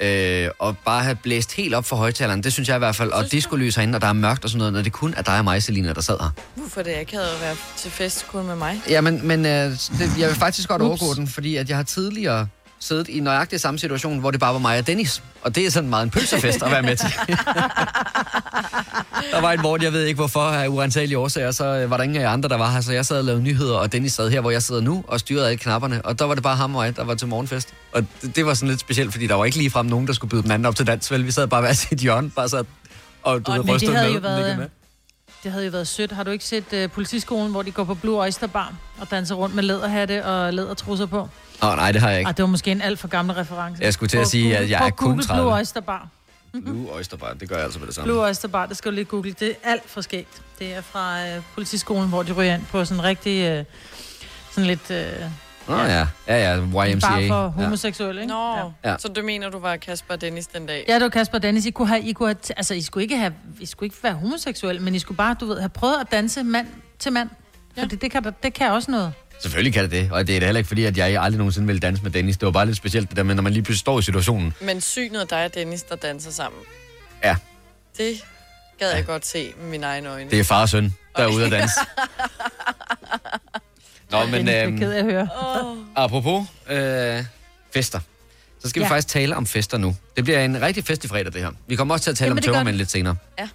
Speaker 1: Øh, og bare have blæst helt op for højtaleren, det synes jeg i hvert fald. Og diskolys herinde, og der er mørkt og sådan noget, når det kun er dig og mig, Selina, der sad her.
Speaker 3: Hvorfor det er akavet at være til fest kun med mig?
Speaker 1: Ja, men, men øh, det, jeg vil faktisk godt overgå den, fordi at jeg har tidligere siddet i nøjagtig samme situation, hvor det bare var mig og Dennis. Og det er sådan meget en pølsefest at være med til. der var en morgen, jeg ved ikke hvorfor, af uantagelige årsager, så øh, var der ingen af jer andre, der var her. Så jeg sad og lavede nyheder, og Dennis sad her, hvor jeg sidder nu, og styrede alle knapperne. Og der var det bare ham og jeg, der var til morgenfest. Og det, det var sådan lidt specielt, fordi der var ikke ligefrem nogen, der skulle byde den anden op til dans. Vel, vi sad bare hver sit hjørne, bare sad og du
Speaker 2: Og,
Speaker 1: ved,
Speaker 2: men det
Speaker 1: rystede
Speaker 2: havde, jo
Speaker 1: med, nikkede med.
Speaker 2: været, det havde jo været sødt. Har du ikke set uh, politiskolen, hvor de går på Blue Oyster Bar og danser rundt med læderhatte og lædertrusser på?
Speaker 1: Åh, nej, det har jeg ikke.
Speaker 2: Ej, det var måske en alt for gammel reference.
Speaker 1: Jeg skulle til at
Speaker 2: På
Speaker 1: sige,
Speaker 2: Google-
Speaker 1: at jeg
Speaker 2: på
Speaker 1: er kun
Speaker 2: Google
Speaker 1: 30.
Speaker 2: Blue Oyster Bar.
Speaker 1: Blue Oyster Bar, det gør jeg altså med det samme.
Speaker 2: Blue Oyster Bar, det skal du lige google. Det er alt for skægt. Det er fra øh, politiskolen, hvor de ryger ind på sådan en rigtig... Øh, sådan lidt... Øh,
Speaker 1: Nå ja, ja, ja, YMCA.
Speaker 2: Bare for
Speaker 1: Ja.
Speaker 2: homoseksuelle, ikke?
Speaker 3: Nå,
Speaker 1: Ja.
Speaker 3: ja. så du mener, du var Kasper og Dennis den dag?
Speaker 2: Ja, det var Kasper og Dennis. I, kunne have, I, kunne have, altså, I skulle ikke have, I skulle ikke være homoseksuelle, men I skulle bare, du ved, have prøvet at danse mand til mand. Ja. Fordi det kan, der- det kan også noget.
Speaker 1: Selvfølgelig kan det det, og det er da heller ikke fordi, at jeg aldrig nogensinde ville danse med Dennis. Det var bare lidt specielt det der med, når man lige pludselig står i situationen.
Speaker 3: Men synet af dig og Dennis, der danser sammen.
Speaker 1: Ja.
Speaker 3: Det gad jeg godt se med mine egne øjne.
Speaker 1: Det er far og søn, der er ude at danse. Nå, men
Speaker 2: øhm, ked
Speaker 1: øhm,
Speaker 2: af at høre.
Speaker 1: apropos øh, fester, så skal ja. vi
Speaker 2: Ja.
Speaker 1: faktisk tale om fester nu. Det bliver en rigtig fest i fredag, det her. Vi kommer også til at tale
Speaker 2: Jamen,
Speaker 1: om
Speaker 2: det gør
Speaker 1: tømmermænd
Speaker 2: det.
Speaker 1: lidt senere.
Speaker 2: Ja.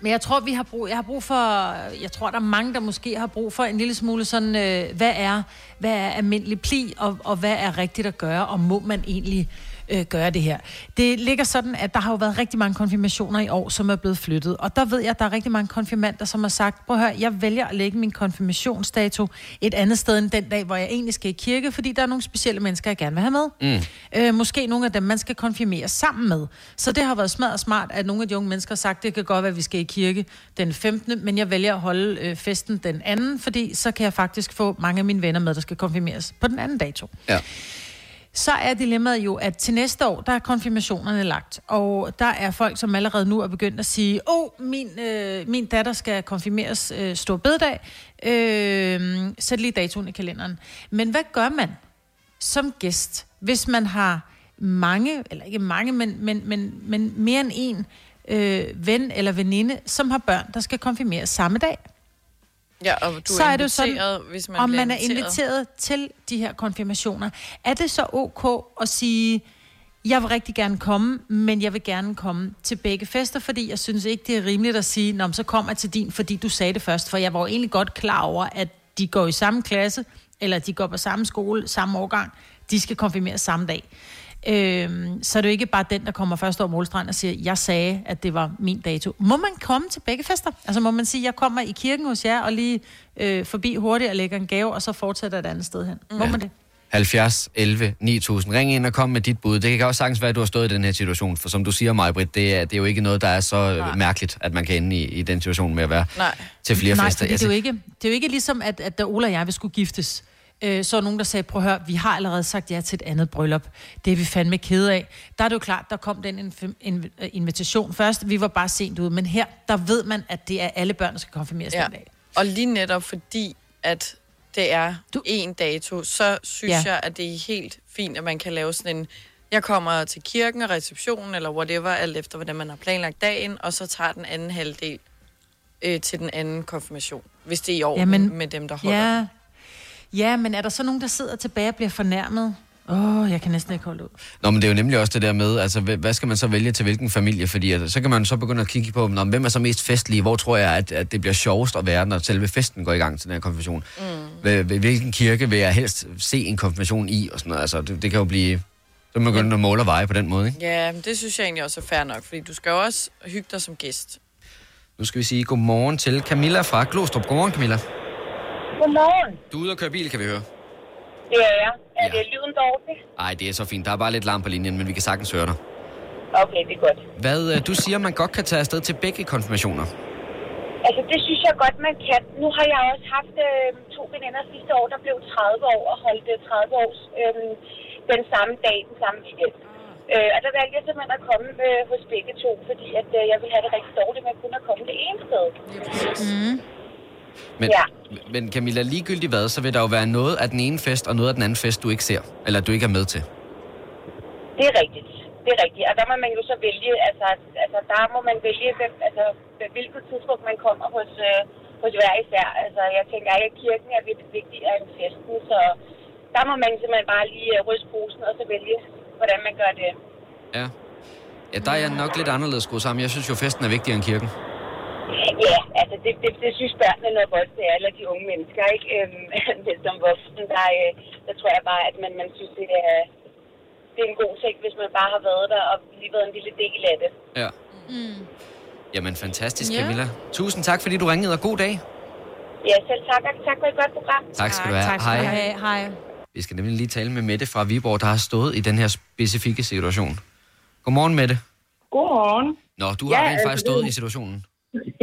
Speaker 2: Men jeg tror, vi har brug, jeg har brug for, jeg tror, der er mange, der måske har brug for en lille smule sådan, øh, hvad, er, hvad er almindelig pli, og, og hvad er rigtigt at gøre, og må man egentlig øh, gøre det her. Det ligger sådan, at der har jo været rigtig mange konfirmationer i år, som er blevet flyttet, og der ved jeg, at der er rigtig mange konfirmander, som har sagt, prøv at høre, jeg vælger at lægge min konfirmationsdato et andet sted end den dag, hvor jeg egentlig skal i kirke, fordi der er nogle specielle mennesker, jeg gerne vil have med.
Speaker 10: Mm.
Speaker 2: Øh, måske nogle af dem, man skal konfirmere sammen med. Så det har været smadret smart, at nogle af de unge mennesker har sagt, det kan godt være, at vi skal i kirke den 15., men jeg vælger at holde øh, festen den anden, fordi så kan jeg faktisk få mange af mine venner med, der skal konfirmeres på den anden dato.
Speaker 1: Ja.
Speaker 2: Så er dilemmaet jo, at til næste år, der er konfirmationerne lagt, og der er folk, som allerede nu er begyndt at sige, åh, oh, min, øh, min datter skal konfirmeres øh, stor bededag, øh, sæt lige datoen i kalenderen. Men hvad gør man som gæst, hvis man har mange, eller ikke mange, men, men, men, men mere end en øh, ven eller veninde, som har børn, der skal konfirmeres samme dag?
Speaker 3: Ja, og du
Speaker 2: så
Speaker 3: er
Speaker 2: er det jo sådan,
Speaker 3: inviteret, hvis man
Speaker 2: om
Speaker 3: bliver
Speaker 2: man er inviteret til de her konfirmationer. Er det så ok at sige, jeg vil rigtig gerne komme, men jeg vil gerne komme til begge fester, fordi jeg synes ikke, det er rimeligt at sige, Nå, men så kommer jeg til din, fordi du sagde det først, for jeg var jo egentlig godt klar over, at de går i samme klasse, eller de går på samme skole, samme årgang, de skal konfirmeres samme dag. Øhm, så er det jo ikke bare den, der kommer først over målstregen og siger, jeg sagde, at det var min dato. Må man komme til begge fester? Altså må man sige, jeg kommer i kirken hos jer og lige øh, forbi hurtigt og lægger en gave, og så fortsætter et andet sted hen? Må
Speaker 1: Ja.
Speaker 2: man det?
Speaker 1: 70 11 9000. Ring ind og kom med dit bud. Det kan også sagtens være, at du har stået i den her situation, for som du siger, mig, Britt, det er, det er jo ikke noget, der er så Nej. mærkeligt, at man kan ende i, i den situation med at være
Speaker 2: Nej.
Speaker 1: til flere
Speaker 2: Nej,
Speaker 1: fester.
Speaker 2: fordi det, er jo ikke, det er jo ikke ligesom, at, at da Ola og jeg vi skulle giftes, øh, så er nogen, der sagde, prøv at høre, vi har allerede sagt ja til et andet bryllup. Det er vi fandme kede af. Der er det jo klart, der kom den inv- inv- øh, invitation først. Vi var bare sent ude, men her, der ved man, at det er alle børn, der skal konfirmeres ja.
Speaker 3: Ja.
Speaker 2: den dag.
Speaker 3: Og lige netop fordi, at det er du... én dato, så synes
Speaker 2: Ja.
Speaker 3: ja. jeg, at det er helt fint, at man kan lave sådan en... Jeg kommer til kirken og receptionen, eller whatever, alt efter, hvordan man har planlagt dagen, og så tager den anden halvdel øh, til den anden konfirmation, hvis det er i orden
Speaker 2: Jamen,
Speaker 3: med dem, der holder.
Speaker 2: Ja. ja, men er der så nogen, der sidder tilbage og bliver fornærmet? Åh, oh, jeg kan næsten ikke holde ud.
Speaker 1: Nå, men det er jo nemlig også det der med, altså, hv- hvad skal man så vælge til hvilken familie? Fordi at, så kan man så begynde at kigge på, nå, men hvem er så mest festlige? Hvor tror jeg, at, at det bliver sjovest at være, når selve festen går i gang til den her konfirmation? Mm. Hvilken kirke vil jeg helst se en konfirmation i? Og sådan noget. Altså, det, det kan jo blive... Så kan man begynde at måle og veje på den måde, ikke?
Speaker 3: Ja, men det synes jeg egentlig også er fair nok, fordi du skal jo også hygge dig som gæst.
Speaker 1: Nu skal vi sige godmorgen til Camilla fra Glostrup. Godmorgen, Camilla.
Speaker 6: Godmorgen.
Speaker 1: Du er ude og køre bil, kan vi høre.
Speaker 6: Ja, ja. Er det lyden dårlig?
Speaker 1: Nej, det er så fint. Der er bare lidt larm på linjen, men vi kan sagtens høre dig.
Speaker 6: Okay, det er godt.
Speaker 1: Hvad, øh, du siger, man godt kan tage afsted til begge konfirmationer.
Speaker 6: Altså, det synes jeg godt, man kan. Nu har jeg også haft øh, to veninder sidste år, der blev 30 år og holdt øh, 30 års øh, den samme dag, den samme weekend. Øh, og der valgte jeg simpelthen at komme øh, hos begge to, fordi at, øh, jeg ville have det rigtig dårligt med kun at komme det ene sted.
Speaker 2: Mm.
Speaker 1: Men,
Speaker 6: Ja.
Speaker 1: men Camilla, ligegyldigt hvad, så vil der jo være noget af den ene fest og noget af den anden fest, du ikke ser, eller du ikke er med til.
Speaker 6: Det er rigtigt. Det er rigtigt. Og der må man jo så vælge, altså, altså der må man vælge, hvem, altså, hvem- hvilket tidspunkt man kommer hos, øh, hos hver især. Altså, jeg tænker ikke, at kirken er lidt vigtigere end festen, så
Speaker 10: der må man simpelthen bare lige øh, ryste posen og så vælge, hvordan man gør det.
Speaker 1: Ja. Ja, der er jeg nok lidt anderledes skruet sammen. Jeg synes jo, festen er vigtigere end kirken.
Speaker 10: Ja, altså det, det, det synes børnene noget godt, det er, eller de unge mennesker, ikke? Øhm, men som voksen, der, øh, der tror jeg bare, at man, man synes, det er, det er en god ting, hvis man bare har været der og lige været en lille del af det.
Speaker 1: Ja. Mm. Jamen, fantastisk,
Speaker 10: Ja.
Speaker 1: Camilla. Tusind tak, fordi du ringede, og god dag.
Speaker 10: Ja, selv tak, og tak for et godt program.
Speaker 1: Tak skal du have. Tak skal du Hej.
Speaker 10: Hej.
Speaker 1: Vi skal nemlig lige tale med Mette fra Viborg, der har stået i den her specifikke situation. Godmorgen, Mette.
Speaker 11: Godmorgen.
Speaker 1: Nå, du har
Speaker 11: Ja,
Speaker 1: rent faktisk
Speaker 11: altså,
Speaker 1: stået
Speaker 11: det-
Speaker 1: i situationen.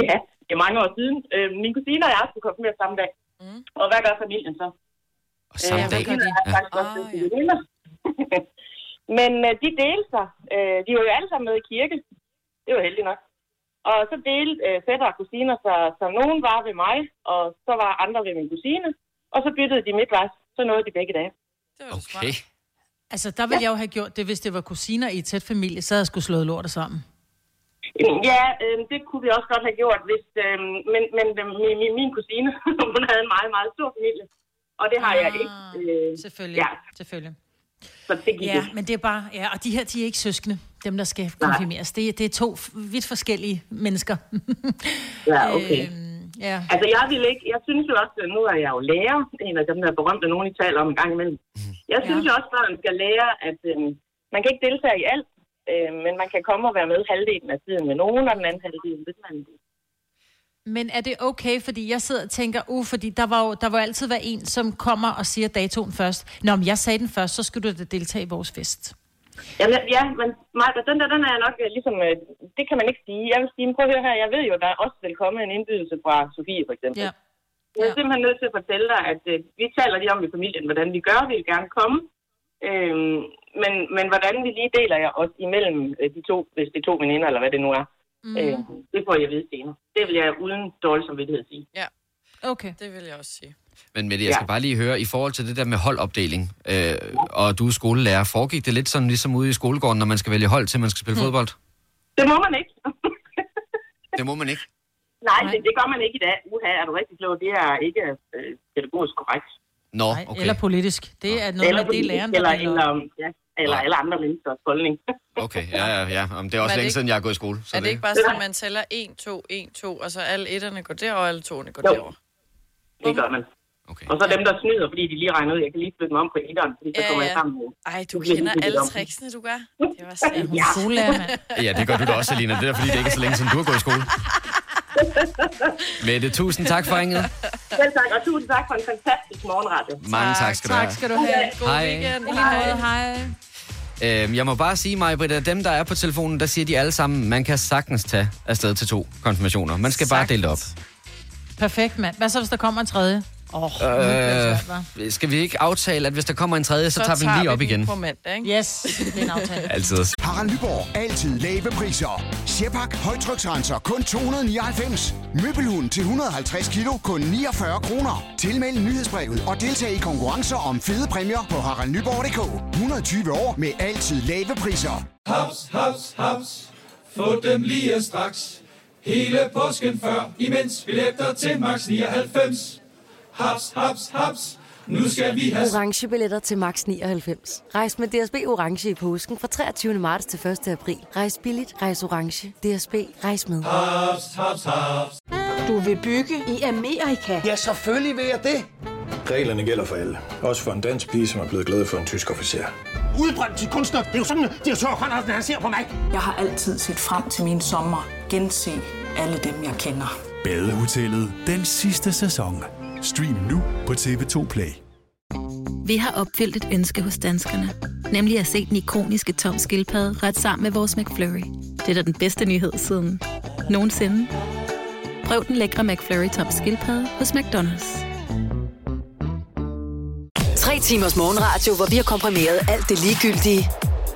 Speaker 11: Ja, det er mange år siden. Øh, min kusine og jeg skulle konfirmere samme dag. Mm. Og hvad gør familien så?
Speaker 1: Og samme dag?
Speaker 11: Ja. Ah, Ja. Men øh, de delte sig. Øh, de var jo alle sammen med i kirke. Det var heldigt nok. Og så delte øh, fætter og kusiner sig, så nogen var ved mig, og så var andre ved min kusine. Og så byttede de midtvejs. Så nåede de begge dage.
Speaker 1: Okay.
Speaker 2: Altså, der ville ja. jeg jo have gjort det, hvis det var kusiner i et tæt familie, så havde jeg skulle slået lortet sammen.
Speaker 11: Ja, øh, det kunne vi også godt have gjort, hvis, øh, men, men øh, min, min, min kusine, hun havde en meget, meget stor familie, og det har ah, jeg ikke. Øh,
Speaker 2: selvfølgelig,
Speaker 11: ja.
Speaker 2: selvfølgelig.
Speaker 11: Så det gik
Speaker 2: Ja,
Speaker 11: ikke.
Speaker 2: men det er bare... Ja, og de her, de er ikke søskende, dem der skal konfirmeres. Det, det er to f- vidt forskellige mennesker. Øhm,
Speaker 11: Ja, okay.
Speaker 2: ja.
Speaker 11: Altså, jeg vil ikke, jeg synes jo også, nu er jeg jo lærer, en af dem der berømte, nogen I taler om en gang imellem. Jeg synes jo også, at man skal lære, at øh, man kan ikke deltage i alt, øh, men man kan komme og være med halvdelen af tiden med nogen, og den anden halvdelen, hvis man
Speaker 2: Men er det okay, fordi jeg sidder og tænker, uh, fordi der var jo, der var altid være en, som kommer og siger datoen først. Nå, men jeg sagde den først, så skulle du da deltage i vores fest.
Speaker 11: Jamen, ja, men Maja, den der, den er jeg nok øh, ligesom, øh, det kan man ikke sige. Jeg vil sige, men prøv at høre her, jeg ved jo, at der også vil komme en indbydelse fra Sofie, for eksempel.
Speaker 2: Ja.
Speaker 11: Jeg er simpelthen nødt til at fortælle dig, at øh, vi taler lige om i familien, hvordan vi gør, vi vil gerne komme. Øhm, men, men hvordan vi lige deler jer os imellem øh, de to, hvis det er to veninder, eller hvad det nu er,
Speaker 3: Mhm.
Speaker 11: mm. øh, det får jeg at vide senere. Det vil jeg uden dårlig samvittighed sige.
Speaker 3: Ja.
Speaker 2: Okay.
Speaker 3: Det vil jeg også sige.
Speaker 1: Men Mette, jeg skal
Speaker 3: Ja.
Speaker 1: bare lige høre, i forhold til det der med holdopdeling, øh, og du er skolelærer, foregik det lidt sådan ligesom ude i skolegården, når man skal vælge hold til, man skal spille
Speaker 11: Hmm.
Speaker 1: fodbold?
Speaker 11: Det må man ikke.
Speaker 1: Det må man ikke.
Speaker 11: Nej, Det, det gør man ikke i dag. Uha, er du rigtig klog? Det er ikke øh, pædagogisk korrekt.
Speaker 1: Nå, okay.
Speaker 2: Eller politisk. Det er noget, med det er
Speaker 11: politik,
Speaker 2: læreren,
Speaker 11: eller,
Speaker 2: der
Speaker 11: eller,
Speaker 2: deler.
Speaker 11: om- ja, eller alle andre menneskers holdning.
Speaker 1: Okay, ja, ja, ja. Jamen, det er
Speaker 3: Men er
Speaker 1: også
Speaker 3: det
Speaker 1: længe
Speaker 3: ikke-
Speaker 1: siden, jeg har gået i skole. Så
Speaker 3: er det ikke bare sådan, at man tæller 1, 2, 1, 2, og så alle etterne går derover, og alle toerne går
Speaker 11: Jo.
Speaker 3: derover?
Speaker 11: Det gør man.
Speaker 1: Okay.
Speaker 11: Og så dem, der snyder, fordi de lige regner ud, jeg kan lige flytte mig om på etteren, fordi så
Speaker 3: Ja,
Speaker 11: kommer jeg
Speaker 3: ja.
Speaker 11: sammen med.
Speaker 3: Ej, du
Speaker 11: Så bliver de
Speaker 3: kender
Speaker 11: byttet
Speaker 3: alle
Speaker 11: om.
Speaker 3: tricksene, du gør. Det var sandt.
Speaker 11: Ja.
Speaker 1: Ja, det gør du da også, Alina. Det er fordi, det ikke er så længe siden, du har gået i skole. Mette, tusind tak for ringet.
Speaker 11: Selv tak, og tusind tak for en fantastisk morgenradio.
Speaker 1: Mange tak skal du have.
Speaker 2: Tak skal du have.
Speaker 1: God Hej. weekend.
Speaker 2: I lige måde, hej.
Speaker 1: Øhm, jeg må bare sige mig, Britta, dem der er på telefonen, der siger de alle sammen, man kan sagtens tage afsted til to konfirmationer. Man skal bare dele det op.
Speaker 2: Perfekt, mand. Hvad så, hvis der kommer en tredje? Åh, oh,
Speaker 1: Øh, skal vi ikke aftale, at hvis der kommer en tredje, så, tager vi den lige op igen?
Speaker 3: mandag,
Speaker 2: ikke? Yes, det er en aftale.
Speaker 1: Altid.
Speaker 8: Harald Nyborg. Altid lave priser. Sjehpak. Højtryksrenser. Kun 299. Møbelhund til 150 kilo. Kun 49 kroner. Tilmeld nyhedsbrevet og deltag i konkurrencer om fede præmier på haraldnyborg.dk. 120 år med altid lave priser.
Speaker 12: Haps, haps, haps. Få dem lige straks. Hele påsken før, imens billetter til max 99. Haps, haps, haps. Nu skal vi have
Speaker 13: orange billetter til max 99. Rejs med DSB orange i påsken fra 23. marts til 1. april. Rejs billigt, rejs orange. DSB rejs med.
Speaker 12: haps, haps, haps.
Speaker 14: Du vil bygge i Amerika? Ja, selvfølgelig vil jeg det.
Speaker 15: Reglerne gælder for alle. Også for en dansk pige, som er blevet glad for en tysk officer.
Speaker 14: Udbrøndt til kunstner. Det er jo sådan, at de har Conradsen, han ser på mig. Jeg har altid set frem til min sommer. Gense alle dem, jeg kender.
Speaker 16: Badehotellet den sidste sæson. Stream nu på TV2 Play.
Speaker 17: Vi har opfyldt et ønske hos danskerne. Nemlig at se den ikoniske tom skildpadde ret sammen med vores McFlurry. Det er da den bedste nyhed siden nogensinde. Prøv den lækre McFlurry tom skildpadde hos McDonald's.
Speaker 4: Tre timers morgenradio, hvor vi har komprimeret alt det ligegyldige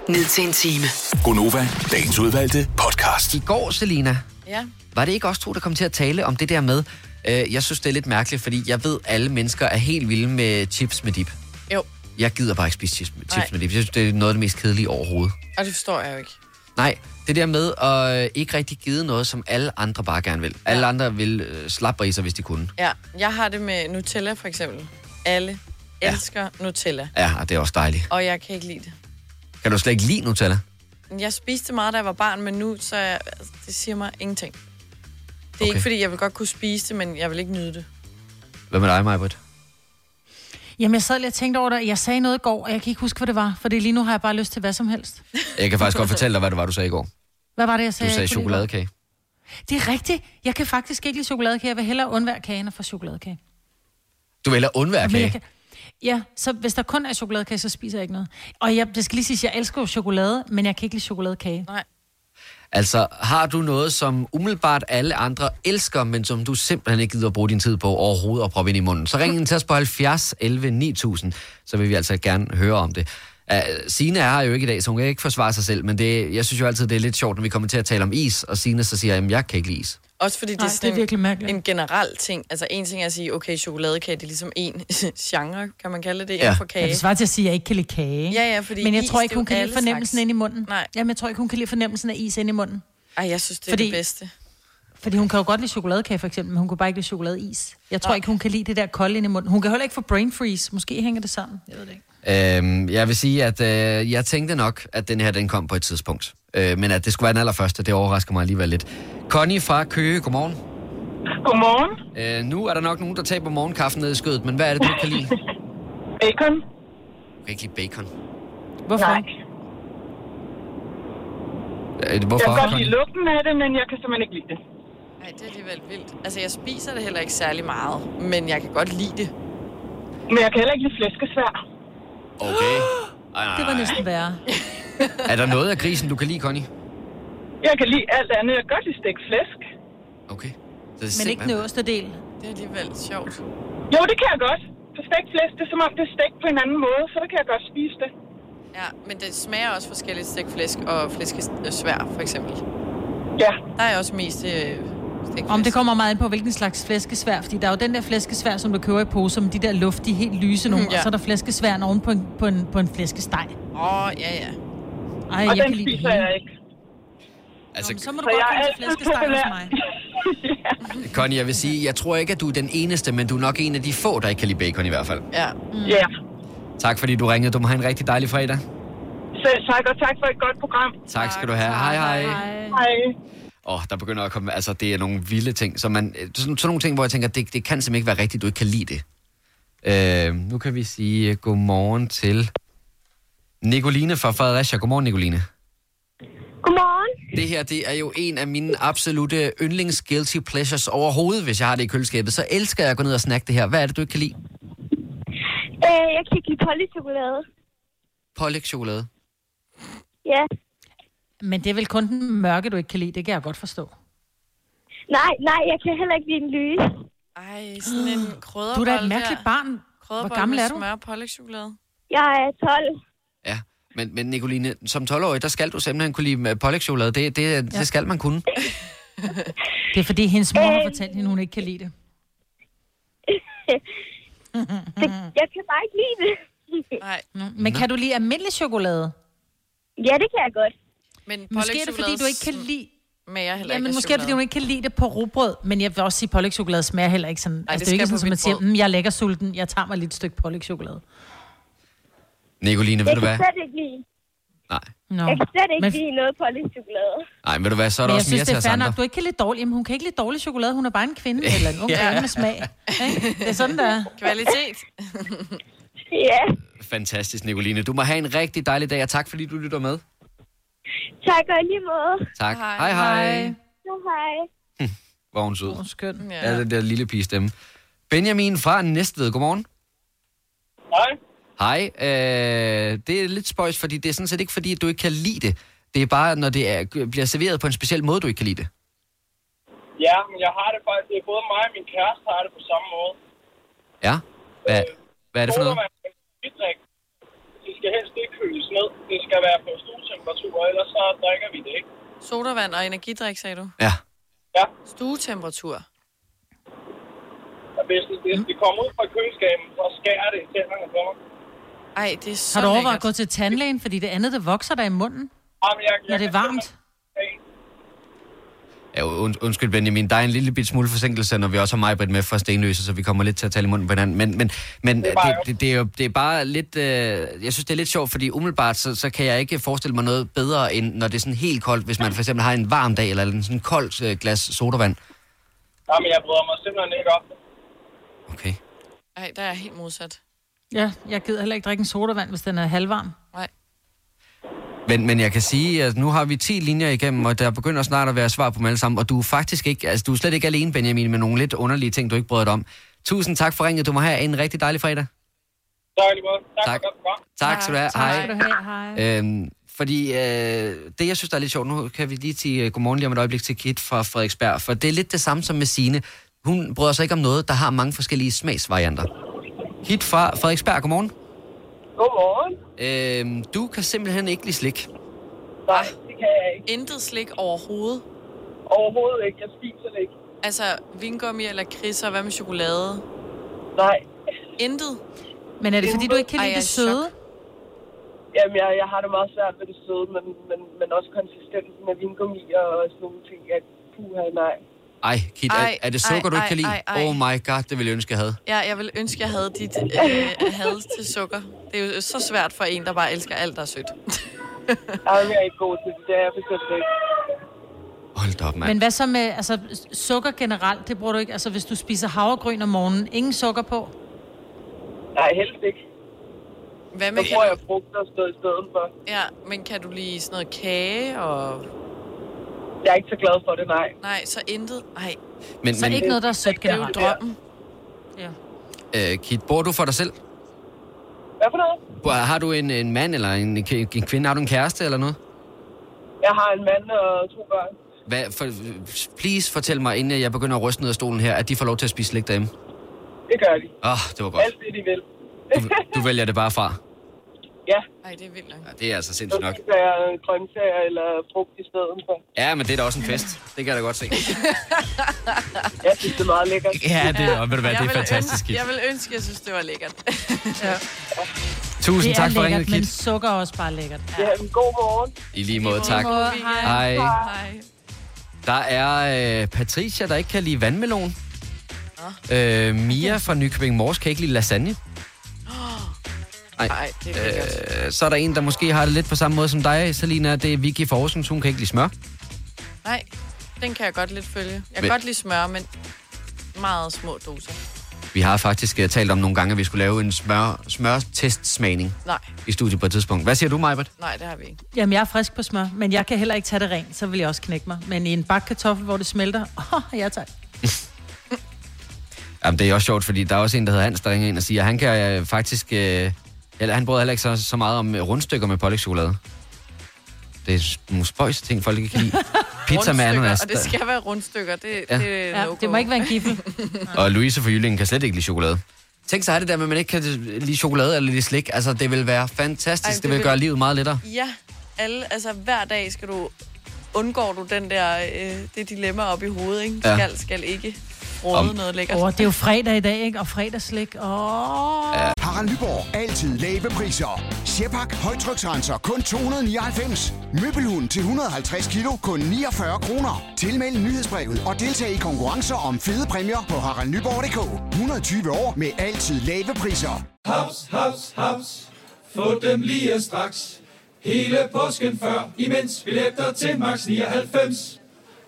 Speaker 4: ned til en time.
Speaker 5: Gonova, dagens udvalgte podcast.
Speaker 1: I går, Selina,
Speaker 3: Ja.
Speaker 1: var det ikke også to, der kom til at tale om det der med, øh, jeg synes, det er lidt mærkeligt, fordi jeg ved, alle mennesker er helt vilde med chips med dip.
Speaker 3: Jo,
Speaker 1: Jeg gider bare ikke spise chips, chips
Speaker 3: Nej.
Speaker 1: med dip. Jeg synes, det er noget af det mest kedelige overhovedet.
Speaker 3: og det forstår jeg jo ikke.
Speaker 1: Nej, det der med at øh, ikke rigtig give noget, som alle andre bare gerne vil. Alle andre vil øh, slappe riser, hvis de kunne.
Speaker 3: Ja, jeg har det med Nutella for eksempel. Alle elsker ja. Nutella,
Speaker 1: Ja, og det er også dejligt.
Speaker 3: og jeg kan ikke lide det.
Speaker 1: Kan du slet ikke lide Nutella?
Speaker 3: Jeg spiste meget, da jeg var barn, men nu, så jeg, altså, det siger mig ingenting. Det er okay. ikke,
Speaker 1: Okay.
Speaker 3: fordi jeg vil godt kunne spise det, men jeg vil ikke nyde det.
Speaker 1: Hvad med dig, Majbert?
Speaker 2: Jamen, jeg sad lige og tænkte over det. Jeg sagde noget i går, og jeg kan ikke huske, hvad det var. Fordi lige nu har jeg bare lyst til hvad som helst.
Speaker 1: Jeg kan faktisk godt fortælle dig, hvad det var, du sagde i går.
Speaker 2: Hvad var det, jeg sagde?
Speaker 1: Du sagde
Speaker 2: Jeg kunne lige-
Speaker 1: chokoladekage.
Speaker 2: Det er rigtigt. Jeg kan faktisk ikke lide chokoladekage. Jeg vil hellere undvære kagen og få chokoladekage.
Speaker 1: Du vælger undvære
Speaker 2: Men jeg
Speaker 1: kage.
Speaker 2: kan- Ja, så hvis der kun er chokoladekage, så spiser jeg ikke noget. Og jeg, det skal lige sige, jeg elsker jo chokolade, men jeg kan ikke lide chokoladekage.
Speaker 3: Nej.
Speaker 1: Altså, har du noget, som umiddelbart alle andre elsker, men som du simpelthen ikke gider at bruge din tid på overhovedet og proppe ind i munden? Så ring ind til os på 70 11 9000, så vil vi altså gerne høre om det. Uh, Sine er her jo ikke i dag, så hun kan ikke forsvare sig selv, men det, jeg synes jo altid, det er lidt sjovt, når vi kommer til at tale om is, og Sine så siger, at jeg kan ikke lide is.
Speaker 3: Også fordi det
Speaker 2: Nej,
Speaker 3: er sådan
Speaker 2: det er virkelig
Speaker 3: en, en generel ting. Altså en ting er at sige, okay, chokoladekage, det er ligesom en genre, kan man kalde det,
Speaker 2: Ja.
Speaker 3: inden for kage.
Speaker 2: Ja, det svarer til at sige, at jeg ikke kan lide kage.
Speaker 3: Ja, ja, fordi
Speaker 2: men jeg
Speaker 3: is,
Speaker 2: tror
Speaker 3: det
Speaker 2: ikke,
Speaker 3: er
Speaker 2: hun
Speaker 3: jo
Speaker 2: kan lide
Speaker 3: alle
Speaker 2: fornemmelsen
Speaker 3: slags.
Speaker 2: ind i munden. Nej. Jamen, jeg tror ikke, hun kan lide fornemmelsen af is ind i munden.
Speaker 3: Ej, jeg synes, det er
Speaker 2: Fordi-
Speaker 3: det bedste.
Speaker 2: Fordi hun kan jo godt lide chokoladekage, for eksempel, men hun kan bare ikke lide chokoladeis. Jeg tror
Speaker 3: Nej.
Speaker 2: ikke, hun kan lide det der kolde ind i munden. Hun kan heller ikke få brain freeze. Måske hænger det sammen. Jeg ved det ikke.
Speaker 1: Øhm, jeg vil sige, at øh, jeg tænkte nok, at den her den kom på et tidspunkt. Øh, men at det skulle være den allerførste, det overrasker mig alligevel lidt. Connie fra Køge, godmorgen.
Speaker 18: Godmorgen.
Speaker 1: Øh, nu er der nok nogen, der taber morgenkaffen ned i skødet, men hvad er det, du ikke kan lide?
Speaker 18: Bacon?
Speaker 1: Du kan ikke lide bacon.
Speaker 2: Hvorfor?
Speaker 18: Nej.
Speaker 1: Øh,
Speaker 18: Jeg
Speaker 1: Hvorfor?
Speaker 18: kan godt lide
Speaker 1: Connie?
Speaker 18: lugten af det, men jeg kan simpelthen ikke lide det.
Speaker 3: Nej, det er alligevel vildt. Altså, jeg spiser det heller ikke særlig meget, men jeg kan godt lide det.
Speaker 18: Men jeg kan heller ikke lide flæskesvær.
Speaker 1: Okay. Ej,
Speaker 2: Det var næsten værre.
Speaker 1: Er der noget af grisen, du kan lide, Connie?
Speaker 18: Jeg kan lide alt andet. Jeg kan godt lide stegt flæsk.
Speaker 1: Det er
Speaker 2: Men ikke
Speaker 1: simpelthen-
Speaker 2: den øverste del.
Speaker 3: Det er alligevel sjovt.
Speaker 18: Jo, det kan jeg godt. For stegt flæsk, det er som om, det er stegt på en anden måde, så det kan jeg godt spise det.
Speaker 3: Ja, men det smager også forskelligt stegt flæsk og flæskesvær, for eksempel.
Speaker 18: Ja.
Speaker 3: Der er også mest øh, stegt
Speaker 2: Om det kommer meget ind på, hvilken slags flæskesvær, fordi der er jo den der flæskesvær, som du køber i pose, med de der luftige, helt lyse nogle,
Speaker 3: Mm,
Speaker 2: ja.
Speaker 3: ja.
Speaker 2: og så er der flæskesværen oven på en, på en, på en flæskesteg.
Speaker 3: Åh, oh, ja, ja.
Speaker 2: Ej, jeg
Speaker 18: og den
Speaker 2: kan lide det
Speaker 18: spiser
Speaker 2: hele.
Speaker 18: jeg ikke.
Speaker 1: Altså,
Speaker 2: Så må du
Speaker 18: Så
Speaker 2: godt
Speaker 18: jeg er
Speaker 2: komme til
Speaker 18: altid
Speaker 2: flæskesteg hos
Speaker 18: populær.
Speaker 2: mig.
Speaker 1: Connie, jeg vil sige, jeg tror ikke, at du er den eneste, men du er nok en af de få, der ikke kan lide bacon i hvert fald.
Speaker 3: Ja.
Speaker 2: Mm.
Speaker 18: Ja.
Speaker 1: Tak fordi du ringede. Du må have en rigtig dejlig fredag.
Speaker 18: Selv tak, og tak for et godt program.
Speaker 1: Tak skal du have. Hej, hej.
Speaker 18: Hej.
Speaker 1: Åh, oh, der begynder at komme... Altså, det er nogle vilde ting. Så man, øh, sådan, sådan nogle ting, hvor jeg tænker, det, det kan simpelthen ikke være rigtigt, du ikke kan lide det. Øh, nu kan vi sige uh, godmorgen til Nicoline fra Fredericia. Godmorgen, Nicoline. Godmorgen. Det her, det er jo en af mine absolute yndlings guilty pleasures overhovedet, hvis jeg har det i køleskabet. Så elsker jeg at gå ned og snakke det her. Hvad er det, du ikke kan lide?
Speaker 19: Øh, jeg kan ikke lide polychokolade.
Speaker 1: Pålægtschokolade.
Speaker 19: Ja.
Speaker 2: Men det er vel kun den mørke, du ikke kan lide. Det kan jeg godt forstå.
Speaker 19: Nej, nej, jeg kan heller ikke lide den lyse.
Speaker 3: Ej, sådan en krydderbold
Speaker 2: Du er da et mærkeligt
Speaker 3: der.
Speaker 2: barn.
Speaker 3: Krydderbold
Speaker 2: gammel
Speaker 3: med
Speaker 2: er du?
Speaker 3: smør og pålægtschokolade.
Speaker 19: Jeg er 12.
Speaker 1: Men, men Nicoline, som 12-årig, der skal du simpelthen kunne lide øh, pålægtschokolade. Det, det, ja. det skal man kunne.
Speaker 2: Det er fordi, hendes mor
Speaker 18: Øh.
Speaker 2: har fortalt hende, hun ikke kan lide det.
Speaker 19: Det,
Speaker 2: Mm.
Speaker 19: jeg kan bare ikke lide det.
Speaker 3: Nej.
Speaker 2: Men kan du lide almindelig chokolade?
Speaker 19: Ja, det kan jeg godt.
Speaker 3: Men
Speaker 2: Måske er det, fordi du ikke kan lide...
Speaker 3: Men jeg heller
Speaker 2: Ja, men
Speaker 3: ikke
Speaker 2: måske er det, fordi hun ikke kan lide det på rugbrød, men jeg vil også sige, at pålægtschokolade smager heller ikke sådan. Ej, altså, det, er
Speaker 3: det
Speaker 2: jo ikke
Speaker 3: skal
Speaker 2: sådan,
Speaker 3: på
Speaker 2: at man
Speaker 3: mit
Speaker 2: siger,
Speaker 3: brød.
Speaker 2: mm, jeg er lækker sulten, jeg tager mig lige et stykke pålægtschokolade.
Speaker 1: Nicoline, ved du hvad?
Speaker 19: slet ikke lide.
Speaker 2: No.
Speaker 19: Jeg kan slet ikke
Speaker 2: Mm. Men-
Speaker 19: lide noget pålægtschokolade.
Speaker 1: Nej, ved du hvad, så er der
Speaker 2: Men jeg
Speaker 1: også mere
Speaker 2: synes,
Speaker 1: til
Speaker 2: det er
Speaker 1: os
Speaker 2: fair
Speaker 1: andre.
Speaker 2: nok. Du ikke kan lide dårlig. Jamen, hun kan ikke lide dårlig chokolade. Hun er bare en kvinde eller en ung
Speaker 1: Ja.
Speaker 2: kvinde med smag. Ikke? Det er sådan, der er.
Speaker 3: Kvalitet.
Speaker 19: ja,
Speaker 1: Fantastisk, Nicoline. Du må have en rigtig dejlig dag, og tak fordi du lytter med.
Speaker 19: tak og i lige måde.
Speaker 1: Tak. Hej. Hej, hej.
Speaker 19: Ja, hej.
Speaker 1: Hvor er hun sød.
Speaker 2: Skøn.
Speaker 1: Ja. ja, den der lille pige stemme. Benjamin fra Næstved, godmorgen.
Speaker 20: Hej.
Speaker 1: Hej. Øh, det er lidt spøjs, fordi det er sådan set ikke, fordi du ikke kan lide det. Det er bare, når det er, bliver serveret på en speciel måde, du ikke kan lide det.
Speaker 20: Ja, men jeg har det faktisk. Det er både mig og min kæreste har det på samme måde.
Speaker 1: Ja? Hvad, hvad er det for noget?
Speaker 20: Sodavand er en bidrik. Det skal helst ikke køles ned. Det skal være på stuetemperatur, ellers så drikker vi det ikke.
Speaker 3: Sodavand og energidrik, sagde du?
Speaker 1: Ja.
Speaker 20: Ja.
Speaker 3: Stuetemperatur.
Speaker 20: Og hvis det,
Speaker 1: Mm.
Speaker 20: hvis det kommer ud fra køleskabet, så skærer det i tænderne på mig.
Speaker 3: Ej, det er så
Speaker 2: Har du overvejet
Speaker 3: lækkert.
Speaker 2: at gå til tandlægen, fordi det andet, det vokser der i munden,
Speaker 20: Jamen, jeg,
Speaker 2: når det er varmt?
Speaker 1: Ja, und, undskyld Benjamin, der er en lille bit smule forsinkelse, når vi også har Majbrit med fra Stenløse, så vi kommer lidt til at tale i munden på hinanden. Men, men, men det,
Speaker 21: bare
Speaker 1: det, det, er jo, det er bare lidt... Øh, jeg synes, det er lidt sjovt, fordi umiddelbart, så, så kan jeg ikke forestille mig noget bedre, end når det er sådan helt koldt, hvis man for eksempel har en varm dag, eller en sådan kold øh, glas sodavand.
Speaker 20: Jamen, jeg bryder mig simpelthen ikke om det.
Speaker 3: Nej, der er jeg helt modsat.
Speaker 2: Ja, jeg gider heller ikke drikke en sodavand, hvis den er halvvarm.
Speaker 3: Nej.
Speaker 1: Men, men jeg kan sige, at nu har vi 10 linjer igennem, og der begynder snart at være svar på dem alle sammen. Og du er faktisk ikke, altså du er slet ikke alene, Benjamin, med nogle lidt underlige ting, du ikke brød dig om. Tusind tak for ringet. Du må have en rigtig dejlig fredag.
Speaker 20: Tak, lige måde. Tak, tak.
Speaker 1: Tak skal du have. Hej.
Speaker 2: Hej.
Speaker 1: Øhm, fordi øh, det, jeg synes, der er lidt sjovt, nu kan vi lige sige øh, godmorgen lige om et øjeblik til Kit fra Frederiksberg, for det er lidt det samme som med Sine. Hun bryder sig ikke om noget, der har mange forskellige smagsvarianter. Kit fra Frederiksberg, godmorgen.
Speaker 20: Godmorgen.
Speaker 1: Øhm, du kan simpelthen ikke lide slik.
Speaker 3: Nej, det kan jeg ikke. Intet slik overhovedet?
Speaker 20: Overhovedet ikke. Jeg spiser det ikke.
Speaker 3: Altså, vingummi eller kriser, hvad med chokolade?
Speaker 20: Nej.
Speaker 3: Intet?
Speaker 2: Men er det, fordi du ikke kan
Speaker 3: Ej,
Speaker 2: lide
Speaker 3: jeg
Speaker 2: det
Speaker 3: er i
Speaker 2: søde?
Speaker 20: Jamen, jeg, jeg har det meget svært med det søde, men, men, men også konsistensen af vingummi og sådan nogle ting. At, puha, nej.
Speaker 1: Ej, Kit, er,
Speaker 3: Ej,
Speaker 1: er det sukker,
Speaker 3: ej,
Speaker 1: du ikke
Speaker 3: ej,
Speaker 1: kan lide?
Speaker 3: ej, ej.
Speaker 1: Oh my god, det ville jeg ønske, jeg havde.
Speaker 3: Ja, jeg vil ønske, jeg havde dit øh, had til sukker. Det er jo så svært for en, der bare elsker alt, der er sødt.
Speaker 20: Jamen, jeg er ikke god til det. Det er jeg bestemt ikke.
Speaker 1: Hold da op, mand.
Speaker 2: Men hvad så med altså, sukker generelt? Det bruger du ikke. Altså, hvis du spiser havregryn om morgenen, ingen sukker på?
Speaker 20: Nej, helst ikke.
Speaker 3: Hvad
Speaker 20: med så bruger jeg frugt og sådan noget i stedet for.
Speaker 3: Ja, men kan du lide sådan noget kage og...
Speaker 20: Jeg er ikke så glad for det, nej.
Speaker 3: Nej, så intet? Nej.
Speaker 1: Men- Så men- ikke noget,
Speaker 2: der er sødt
Speaker 3: Det er jo drømmen.
Speaker 1: Øh, Kit, bor du for dig selv?
Speaker 20: Hvad for noget?
Speaker 1: Bor- Har du en, en mand eller en, en kvinde? Har du en kæreste eller noget?
Speaker 20: Jeg har en mand og to børn.
Speaker 1: Hvad, for, please fortæl mig, inden jeg begynder at ryste ned af stolen her, at de får lov til at spise slik derhjemme.
Speaker 20: Det gør de.
Speaker 1: Åh, oh, det var godt.
Speaker 20: Alt det, de vil.
Speaker 1: Du vælger det bare fra.
Speaker 20: Ja.
Speaker 3: Nej, det er vildt nok.
Speaker 1: Ja, det er altså sindssygt nok.
Speaker 20: Så spiser jeg grøntsager eller frugt i stedet for.
Speaker 1: Ja, men det er da også en fest. Det kan jeg da godt se.
Speaker 20: Jeg synes, det er meget lækkert.
Speaker 1: Ja, det er- og ved du hvad, det
Speaker 3: Jeg
Speaker 1: er
Speaker 3: ville
Speaker 1: fantastisk,
Speaker 3: Ønske,
Speaker 1: Kit.
Speaker 3: jeg vil ønske, jeg synes, det var lækkert. ja.
Speaker 1: Tusind
Speaker 2: det er
Speaker 1: tak for
Speaker 2: lækkert,
Speaker 1: ringet,
Speaker 2: men
Speaker 1: Kit.
Speaker 2: sukker er også bare lækkert.
Speaker 20: Ja, en god morgen.
Speaker 1: I lige måde, tak.
Speaker 2: Hej.
Speaker 1: Hej.
Speaker 3: Hej.
Speaker 1: Der er øh, Patricia, der ikke kan lide vandmelon. Øh, Mia fra Nykøbing Mors kan ikke lide lasagne. Nej,
Speaker 3: det
Speaker 1: er øh, Så er der en, der måske har det lidt på samme måde som dig, Selina. Det er Vicky fra Aarhus, hun kan ikke lide smør.
Speaker 3: Nej, den kan jeg godt lidt følge. Jeg kan
Speaker 1: Men-
Speaker 3: godt lige smøre, men meget små doser.
Speaker 1: Vi har faktisk øh, talt om nogle gange, at vi skulle lave en smør, smørtestsmagning
Speaker 3: Nej,
Speaker 1: i studiet på et tidspunkt. Hvad siger du, Majbert?
Speaker 3: nej, det har vi ikke.
Speaker 2: Jamen, jeg er frisk på smør, men jeg kan heller ikke tage det rent, så vil jeg også knække mig. Men i en bakke kartoffel, hvor det smelter, åh, jeg tager.
Speaker 1: Jamen, det er også sjovt, fordi der er også en, der hedder Hans, der ringer ind og siger, at han kan øh, faktisk... Øh, eller han bryder heller ikke så, så meget om øh, rundstykker med pålægtschokolade. Det er s- nogle spøjs ting, folk ikke kan lide. Pizza med
Speaker 3: Rundstykker,
Speaker 1: ananas.
Speaker 3: Og det skal være rundstykker. Det,
Speaker 1: Ja.
Speaker 3: ja. det, er
Speaker 2: Ja,
Speaker 3: no-go.
Speaker 2: det må ikke være en giffel.
Speaker 1: Og Louise fra Jyllingen kan slet ikke lide chokolade. Tænk sig at det der med, at man ikke kan lide chokolade eller lide slik. Altså, det vil være fantastisk.
Speaker 3: Ej,
Speaker 1: Ej,
Speaker 3: det
Speaker 1: det, det vil
Speaker 3: vil-
Speaker 1: gøre livet meget lettere.
Speaker 3: Ja, alle, altså hver dag skal du, undgår du den der, øh, det dilemma op i hovedet, ikke?
Speaker 1: Ja.
Speaker 3: Ja. Skal, skal ikke råde
Speaker 1: Om-
Speaker 3: noget lækkert.
Speaker 2: Åh, oh, det er jo fredag i dag, ikke? Og fredagslik. Åh.
Speaker 1: Ja.
Speaker 8: Harald Nyborg. Altid lave priser. Sjehpak. Højtryksrenser. Kun 299. Møbelhund til 150 kilo. Kun 49 kroner. Tilmeld nyhedsbrevet og deltag i konkurrencer om fede præmier på haraldnyborg.dk. 120 år med altid lave priser.
Speaker 12: Haps, haps, haps. Få dem lige straks. Hele påsken før, imens billetter til max 99.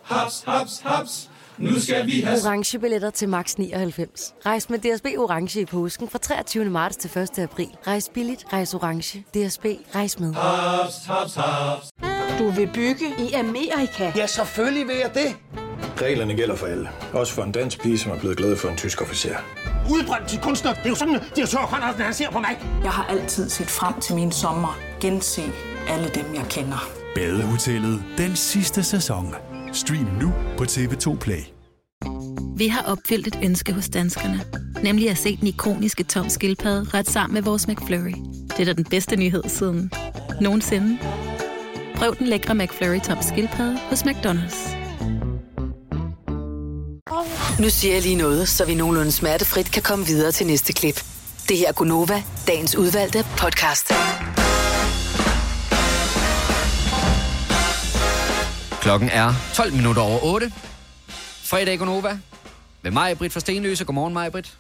Speaker 12: Haps, haps, haps. Nu skal vi have
Speaker 13: Orange billetter til max 99. Rejs med DSB Orange i påsken fra 23. marts til 1. april. Rejs billigt, rejs orange. DSB, rejs med.
Speaker 12: Haps, haps, haps.
Speaker 22: Du vil bygge i Amerika? Ja, selvfølgelig vil jeg det.
Speaker 15: Reglerne gælder for alle. Også for en dansk pige, som er blevet glad for en tysk officer.
Speaker 14: Udbrøndt til kunstner. Det er jo sådan, at de har tørt, han, han ser på mig. Jeg har altid set frem til min sommer. Gense alle dem, jeg kender.
Speaker 16: Badehotellet den sidste sæson. Stream nu på TV2 Play.
Speaker 17: Vi har opfyldt et ønske hos danskerne. Nemlig at se den ikoniske tom skildpadde ret sammen med vores McFlurry. Det er da den bedste nyhed siden nogensinde. Prøv den lækre McFlurry tom skildpadde hos McDonald's.
Speaker 4: Nu siger jeg lige noget, så vi nogenlunde smertefrit kan komme videre til næste klip. Det her er Gunova, dagens udvalgte podcast.
Speaker 1: Kl. Klokken er 12 minutter over 8. Fredag i Gonova. Med mig, Britt fra Stenløse. Godmorgen, mig, Britt.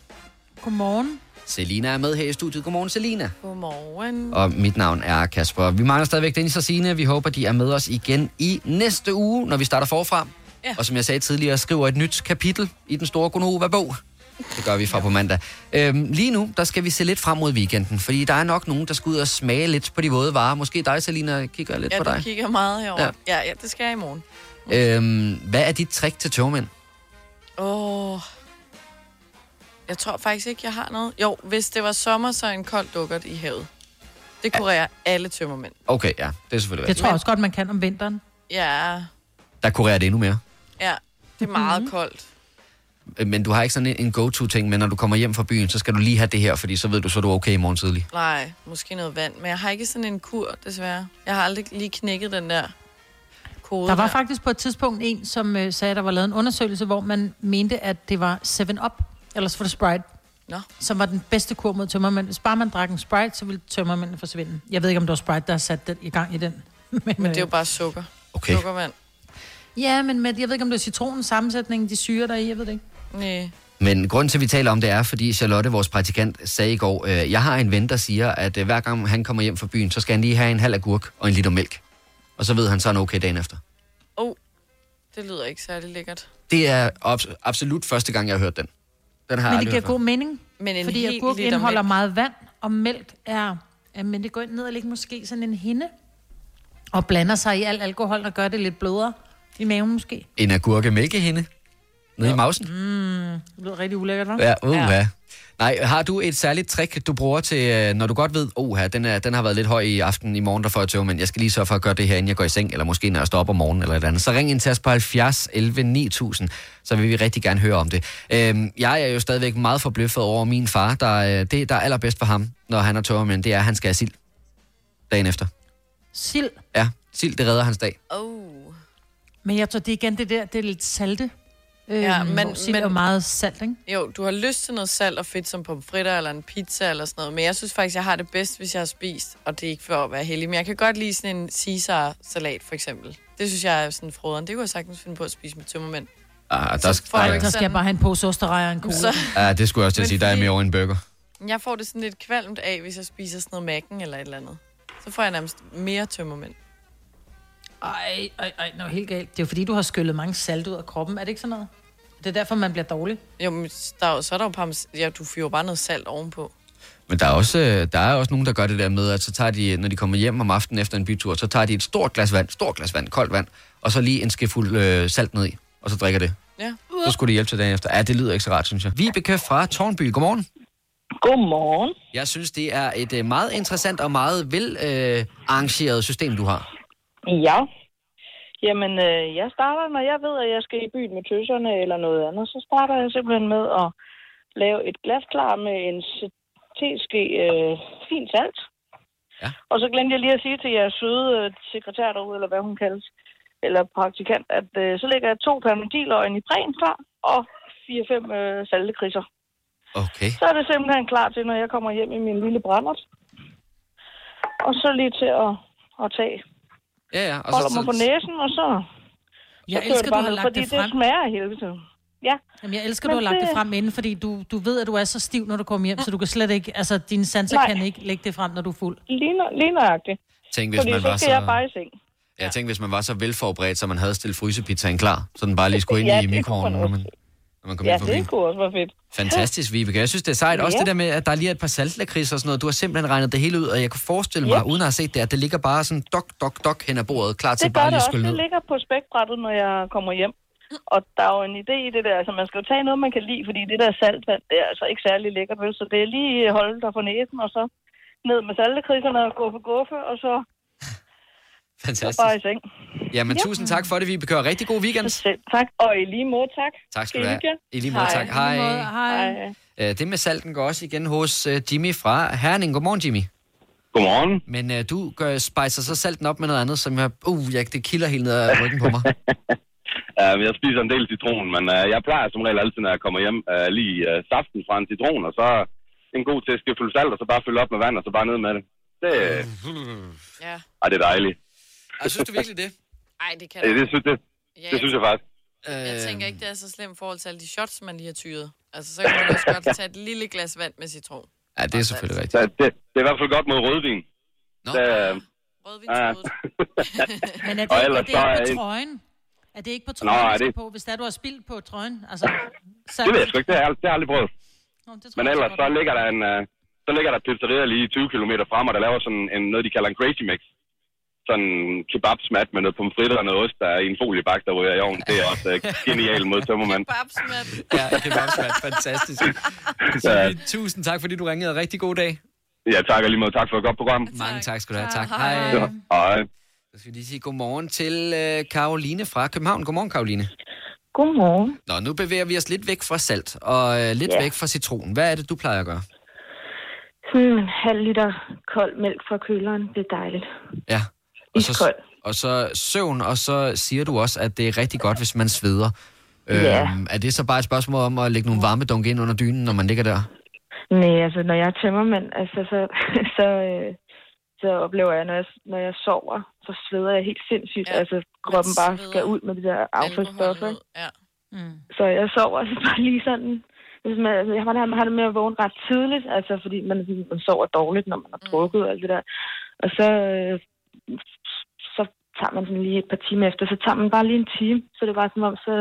Speaker 2: Godmorgen.
Speaker 1: Selina er med her i studiet. Godmorgen, Selina.
Speaker 3: Godmorgen.
Speaker 1: Og mit navn er Kasper. Vi mangler stadigvæk Dennis og Signe. Vi håber, de er med os igen i næste uge, når vi starter forfra.
Speaker 3: Ja.
Speaker 1: Og som jeg sagde tidligere, skriver et nyt kapitel i den store Gonova-bog. Det gør vi fra på mandag. Øhm, lige nu, der skal vi se lidt frem mod weekenden, fordi der er nok nogen, der skal ud og smage lidt på de våde varer. Måske dig, Selina, kigger jeg lidt
Speaker 3: ja,
Speaker 1: på
Speaker 3: du
Speaker 1: dig.
Speaker 3: kigger meget herover.
Speaker 1: Ja.
Speaker 3: Ja. ja, ja, det skal jeg i morgen.
Speaker 1: Øhm, hvad er dit trick til togmænd?
Speaker 3: Åh. Oh. Jeg tror faktisk ikke, jeg har noget. Jo, hvis det var sommer, så en kold dukkert i havet. Det kurerer alle tømmermænd.
Speaker 1: Okay, ja, det er selvfølgelig
Speaker 2: Jeg
Speaker 1: rigtigt.
Speaker 2: tror også godt, man kan om vinteren.
Speaker 3: Ja,
Speaker 1: Der kurerer det endnu mere.
Speaker 3: ja. Det er meget
Speaker 2: Mhm.
Speaker 3: mm-hmm. koldt.
Speaker 1: Øh, Men du har ikke sådan en- en go-to-ting, men når du kommer hjem fra byen, så skal du lige have det her, fordi så ved du, så er du okay i morgen tidlig.
Speaker 3: Nej, måske noget vand. Men jeg har ikke sådan en kur, desværre. Jeg har aldrig lige knækket den der kode
Speaker 2: Der var faktisk på et tidspunkt en, som øh, sagde, at der var lavet en undersøgelse, hvor man mente, at det var 7-Up, ellers for det Sprite,
Speaker 3: Nå.
Speaker 2: som var den bedste kur mod tømmermænd. Hvis bare man drak en Sprite, så ville tømmermændene forsvinde. Jeg ved ikke, om det var Sprite, der har sat den i gang i den. Men, øh,
Speaker 3: Men det er jo bare sukker.
Speaker 1: Okay.
Speaker 3: Sukkervand.
Speaker 2: Ja, men med, jeg ved ikke, om det er citronens sammensætning, de syre der er i, jeg ved det ikke.
Speaker 3: Nej.
Speaker 1: Men grunden til, at vi taler om det, er, fordi Charlotte, vores praktikant, sagde i går, øh, jeg har en ven, der siger, at øh, hver gang han kommer hjem fra byen, så skal han lige have en halv agurk og en liter mælk. Og så ved han, så er han okay dagen efter.
Speaker 3: Oh, det lyder ikke særlig lækkert.
Speaker 1: Det er abs- absolut første gang, jeg har hørt den. Den har jeg
Speaker 2: Men
Speaker 1: aldrig
Speaker 2: det giver
Speaker 1: hørt før.
Speaker 2: god mening,
Speaker 3: Men en
Speaker 2: fordi
Speaker 3: hel
Speaker 2: agurk
Speaker 3: liter
Speaker 2: indeholder
Speaker 3: mælk.
Speaker 2: meget vand, og mælk er... ja, Men det går ned og ligger måske sådan en hinde, og blander sig i al alkohol, og gør det lidt blødere i maven måske.
Speaker 1: En agurke mælkehinde nede i mausen.
Speaker 2: Mm, det lyder rigtig ulækkert, hva'?
Speaker 1: Ja, uh, ja. Nej, har du et særligt trick, du bruger til, øh, når du godt ved, oh, den, er, den har været lidt høj i aften i morgen, der får jeg tøv, men jeg skal lige sørge for at gøre det her, inden jeg går i seng, eller måske når jeg står op om morgenen eller et eller andet. Så ring ind til os på 70 11 9000, så vil vi rigtig gerne høre om det. Øhm, jeg er jo stadigvæk meget forbløffet over min far. Der, øh, det, der er allerbedst for ham, når han har tøv, men det er, at han skal have sild dagen efter.
Speaker 2: Sild.
Speaker 1: Ja, sild, det redder hans dag.
Speaker 3: Oh.
Speaker 2: Men jeg tror, det er igen det der, det er lidt salte. Øhm,
Speaker 3: Ja, men-
Speaker 2: hvor sild er
Speaker 3: men-
Speaker 2: jo meget salt, ikke?
Speaker 3: Jo, du har lyst til noget salt og fedt som pomfritter eller en pizza eller sådan noget, men jeg synes faktisk, jeg har det bedst, hvis jeg har spist, og det er ikke for at være heldig, men jeg kan godt lide sådan en Caesar-salat for eksempel. Det synes jeg er sådan froderen. Det kunne jeg sagtens finde på at spise med tømmermænd.
Speaker 1: Ah, der,
Speaker 3: får jeg
Speaker 1: nej,
Speaker 3: ikke
Speaker 2: Så skal jeg bare have en pose osterrejer og en cola.
Speaker 3: Så-
Speaker 1: ja, det skulle jeg også til at
Speaker 3: Men
Speaker 1: sige, der er mere over en burger.
Speaker 3: Jeg får det sådan lidt kvalmt af, hvis jeg spiser sådan noget macken eller et eller andet. Så får jeg nærmest mere tømmermænd.
Speaker 2: Ej, ej, ej, nå, helt galt. Det er jo fordi, du har skyllet mange salt ud af kroppen. Er det ikke sådan noget? Det er derfor, man bliver dårlig.
Speaker 3: Jo, men der er, jo- så er der jo parmes, ja, du fyrer jo bare noget salt ovenpå.
Speaker 1: Men der er, også, øh, der er også nogen, der gør det der med, at så tager de, når de kommer hjem om aftenen efter en bytur, så tager de et stort glas vand, stort glas vand, koldt vand, og så lige en skefuld øh, salt ned i, og så drikker det.
Speaker 3: Ja.
Speaker 1: Så skulle det hjælpe til dagen efter. Ja, det lyder ikke så rart, synes jeg. Vibeke fra Tornby, godmorgen.
Speaker 21: Godmorgen.
Speaker 1: Jeg synes, det er et øh, meget interessant og meget velarrangeret øh, arrangeret system, du har.
Speaker 21: Ja. Jamen, øh, jeg starter, når jeg ved, at jeg skal i byen med tøserne eller noget andet, så starter jeg simpelthen med at lave et glas klar med en s- teske øh, fin salt. Ja. Og så glemte jeg lige at sige til jeres søde øh, sekretær derude, eller hvad hun kaldes, eller praktikant, at øh, så lægger jeg to permendiløgn i bræn klar, og fire-fem øh, saltekriser.
Speaker 1: Okay.
Speaker 21: Så er det simpelthen klar til, når jeg kommer hjem i min lille brændert. Og så lige til at, at tage
Speaker 1: Ja, ja.
Speaker 21: og holder mig på næsen, og så...
Speaker 2: Jeg
Speaker 21: så kører
Speaker 2: elsker,
Speaker 21: det
Speaker 2: du
Speaker 21: bare
Speaker 2: har
Speaker 21: ned,
Speaker 2: lagt
Speaker 21: fordi
Speaker 2: det frem.
Speaker 21: det smager af hele tiden. Ja.
Speaker 2: Jamen, jeg elsker,
Speaker 21: Men
Speaker 2: du har lagt det
Speaker 21: det-
Speaker 2: frem inden, fordi du, du ved, at du er så stiv, når du kommer hjem, så du kan slet ikke, altså dine sanser
Speaker 21: Nej.
Speaker 2: kan ikke lægge det frem, når du er fuld.
Speaker 21: Lige, nø- lige nøjagtigt.
Speaker 1: Tænk, hvis
Speaker 21: Fordi
Speaker 1: man
Speaker 21: så
Speaker 1: var
Speaker 21: skal jeg bare
Speaker 1: så...
Speaker 21: i seng.
Speaker 1: Jeg tænkte, hvis man var så velforberedt, så man havde stillet frysepizzaen klar, så den bare lige skulle ind
Speaker 21: Ja,
Speaker 1: i
Speaker 21: det kunne
Speaker 1: mikroovnen,
Speaker 21: man
Speaker 1: når man, når man kom
Speaker 21: ja,
Speaker 1: ind forbi.
Speaker 21: det kunne også være fedt.
Speaker 1: Fantastisk, Vibeke. Jeg synes, det er sejt. Også
Speaker 21: Ja.
Speaker 1: det der med, at der lige er et par saltlakrids og sådan noget. Du har simpelthen regnet det hele ud, og jeg kunne forestille mig, uden at have set det, at det ligger bare sådan dok, dok, dok hen ad bordet, klar til
Speaker 21: Det gør
Speaker 1: bare
Speaker 21: det
Speaker 1: lige at
Speaker 21: også.
Speaker 1: skylle ned.
Speaker 21: Det ligger på spækbrættet, når jeg kommer hjem. Og der er jo en idé i det der. Altså, man skal jo tage noget, man kan lide, fordi det der saltvand, det er altså ikke særlig lækkert, vel? Så det er lige holde dig for næsen, og så ned med saltekriserne og gå på guffe, og så
Speaker 1: Fantastisk.
Speaker 21: bare i seng.
Speaker 1: Jamen,
Speaker 21: Ja.
Speaker 1: tusind tak for det, Vibeke. og Rigtig god weekend.
Speaker 21: Selv tak. Og i lige måde, tak.
Speaker 1: Tak skal
Speaker 21: I
Speaker 1: du have.
Speaker 21: hygge jer.
Speaker 1: I lige måde, tak. Hej. I lige måde,
Speaker 21: Hej.
Speaker 1: Øh, Det med salten går også igen hos øh, Jimmy fra Herning. Godmorgen, Jimmy.
Speaker 23: Godmorgen.
Speaker 1: Men øh, du gør, spicer så salten op med noget andet, som jeg... Uh, jeg, det kilder helt ned ad ryggen på mig.
Speaker 23: Uh, jeg spiser en del citron, men uh, jeg plejer som regel altid, når jeg kommer hjem, uh, lige uh, saften fra en citron, og så en god til at fylde salt, og så bare fylde op med vand, og så bare ned med det. Det,
Speaker 1: ja.
Speaker 23: ej, det er dejligt.
Speaker 1: Jeg synes du virkelig det?
Speaker 3: Ej, det kan
Speaker 23: Øh,
Speaker 3: du
Speaker 23: Det, synes, det,
Speaker 3: Ja.
Speaker 23: det synes jeg faktisk.
Speaker 1: Øh,
Speaker 2: Øh.
Speaker 3: Jeg tænker ikke, det er så slemt i forhold til alle de shots, man lige har tyret. Altså, så kan man også godt tage et lille glas vand med citron.
Speaker 1: Ja, det er selvfølgelig rigtigt.
Speaker 23: Så det, det er i hvert fald godt mod rødvin.
Speaker 1: Nå.
Speaker 23: Det, øh,
Speaker 3: rødvin
Speaker 23: ja.
Speaker 2: Men er det,
Speaker 23: Og
Speaker 2: ikke, er
Speaker 23: ellers
Speaker 2: det ikke
Speaker 23: så er
Speaker 2: på
Speaker 23: en-
Speaker 2: trøjen? Er det ikke på
Speaker 23: Nå,
Speaker 2: trøjen, Nå,
Speaker 23: er
Speaker 2: det...
Speaker 23: det-
Speaker 2: på, hvis der du har spildt på trøjen? Altså, så...
Speaker 23: det ved jeg sgu ikke, det har jeg, ald- det har jeg aldrig prøvet.
Speaker 2: Nå, det tror
Speaker 23: Men
Speaker 2: jeg
Speaker 23: ellers
Speaker 2: godt.
Speaker 23: så ligger der en, øh, så ligger der pizzeria lige 20 km frem, og der laver sådan en, noget, de kalder en crazy mix. Sådan en kebabsmat med noget pomfritter og noget ost, der er i en foliebakke, der ryger i ovnen. Det er også øh, genialt mod tømmermand.
Speaker 3: Kebabsmand.
Speaker 1: Ja, kebabsmand. Fantastisk.
Speaker 23: Ja.
Speaker 1: Så, tusind tak, fordi du ringede. Rigtig god dag.
Speaker 23: Ja, tak og lige måde. Tak for et godt program.
Speaker 1: Mange tak skal du have. Tak.
Speaker 23: Hej.
Speaker 1: Hej.
Speaker 23: Ja, Hej.
Speaker 1: Så skal vi lige sige godmorgen til øh, Karoline fra København. Godmorgen, Karoline.
Speaker 6: Godmorgen.
Speaker 1: Nå, nu bevæger vi os lidt væk fra salt og øh, lidt
Speaker 6: Ja.
Speaker 1: væk fra citron. Hvad er det, du plejer at gøre?
Speaker 6: Sådan en halv liter kold mælk fra køleren, det er dejligt.
Speaker 1: Ja. Og så, og så søvn, og så siger du også, at det er rigtig godt, hvis man sveder.
Speaker 6: Ja.
Speaker 1: Øhm, er det så bare et spørgsmål om at lægge nogle varme dunke ind under dynen, når man ligger der?
Speaker 6: Nej, altså når jeg er tømmermænd, altså, så, så, øh, så oplever jeg, når jeg, når jeg sover, så sveder jeg helt sindssygt. Ja, altså kroppen bare skal ud med de der affaldsstoffer.
Speaker 3: Ja.
Speaker 6: Mm. Så jeg sover altså bare lige sådan. Hvis man, altså, jeg har, det- har det med at vågne ret tidligt, altså fordi man, man sover dårligt, når man har drukket og alt det der. Og så, øh, så tager man sådan lige et par timer efter, så tager man bare lige en time. Så det er bare som om, så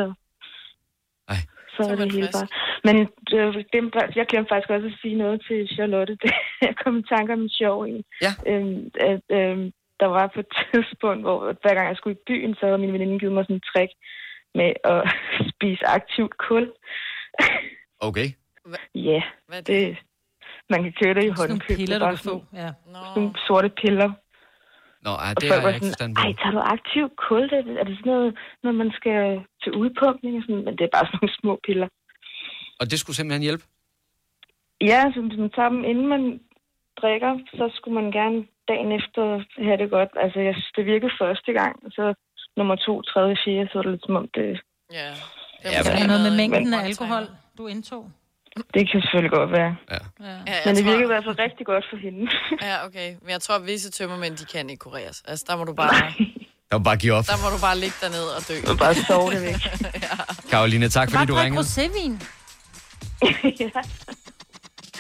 Speaker 6: så er det hele bare. Men øh, det, jeg glemte faktisk også at sige noget til Charlotte. Det, jeg kom i tanke om en sjov en.
Speaker 1: Ja.
Speaker 6: Øhm, at, øhm, der var på et tidspunkt, hvor hver gang jeg skulle i byen, så havde min veninde givet mig sådan en trick med at spise aktivt kul.
Speaker 1: Okay.
Speaker 6: Ja,
Speaker 3: Hvad er
Speaker 6: det? Man kan købe det i håndkøb.
Speaker 2: piller, du
Speaker 6: Det er bare
Speaker 2: kan få.
Speaker 6: sådan-
Speaker 2: Ja.
Speaker 6: sådan Nogle sorte piller.
Speaker 1: Nå, ej,
Speaker 6: Og
Speaker 1: det
Speaker 6: folk
Speaker 1: har
Speaker 6: var
Speaker 1: jeg ikke
Speaker 6: sådan,
Speaker 1: forstand på.
Speaker 6: ej, tager du aktivt kul? Det, er det sådan noget, når man skal til udpumpning? Og sådan, men det er bare sådan nogle små piller.
Speaker 1: Og det skulle simpelthen hjælpe?
Speaker 6: Ja, så hvis man tager dem, inden man drikker, så skulle man gerne dagen efter have det godt. Altså, jeg synes, det virkede første gang, og så nummer to, tredje, fjerde, så er det lidt som om, det,
Speaker 3: Ja.
Speaker 1: Ja,
Speaker 2: Det er noget med mængden
Speaker 6: Men-
Speaker 2: af alkohol, du indtog.
Speaker 6: det kan selvfølgelig godt være.
Speaker 1: Ja.
Speaker 3: Ja, jeg
Speaker 6: Men det
Speaker 3: tror-
Speaker 6: virkede i hvert fald rigtig godt for hende.
Speaker 3: Ja, okay. Men jeg tror, at visse tømmermænd, de kan ikke kureres. Altså, der må du bare,
Speaker 1: Jeg vil bare give op.
Speaker 3: der må du bare ligge derned og dø.
Speaker 6: Bare sove det væk.
Speaker 1: Karoline, tak fordi du
Speaker 2: Bare drik
Speaker 1: ringede.
Speaker 2: rosévin.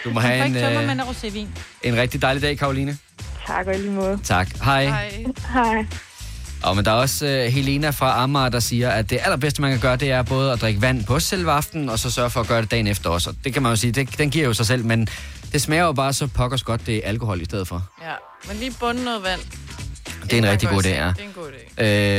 Speaker 1: Du må have
Speaker 2: Drik
Speaker 1: en,
Speaker 2: tømmermænd
Speaker 1: øh,
Speaker 2: af rosévin.
Speaker 1: en rigtig dejlig dag, Karoline.
Speaker 6: tak og i lige måde.
Speaker 1: Tak. Hej.
Speaker 6: Hej.
Speaker 1: Og men der er også øh, Helena fra Amager, der siger, at det allerbedste, man kan gøre, det er både at drikke vand på selve aftenen, og så sørge for at gøre det dagen efter også. Og det kan man jo sige, det, den giver jo sig selv, men det smager jo bare så pokkers godt, det er alkohol i stedet for.
Speaker 3: Ja, men lige bunde noget vand.
Speaker 1: Det er en rigtig god idé, ja.
Speaker 3: Det er en god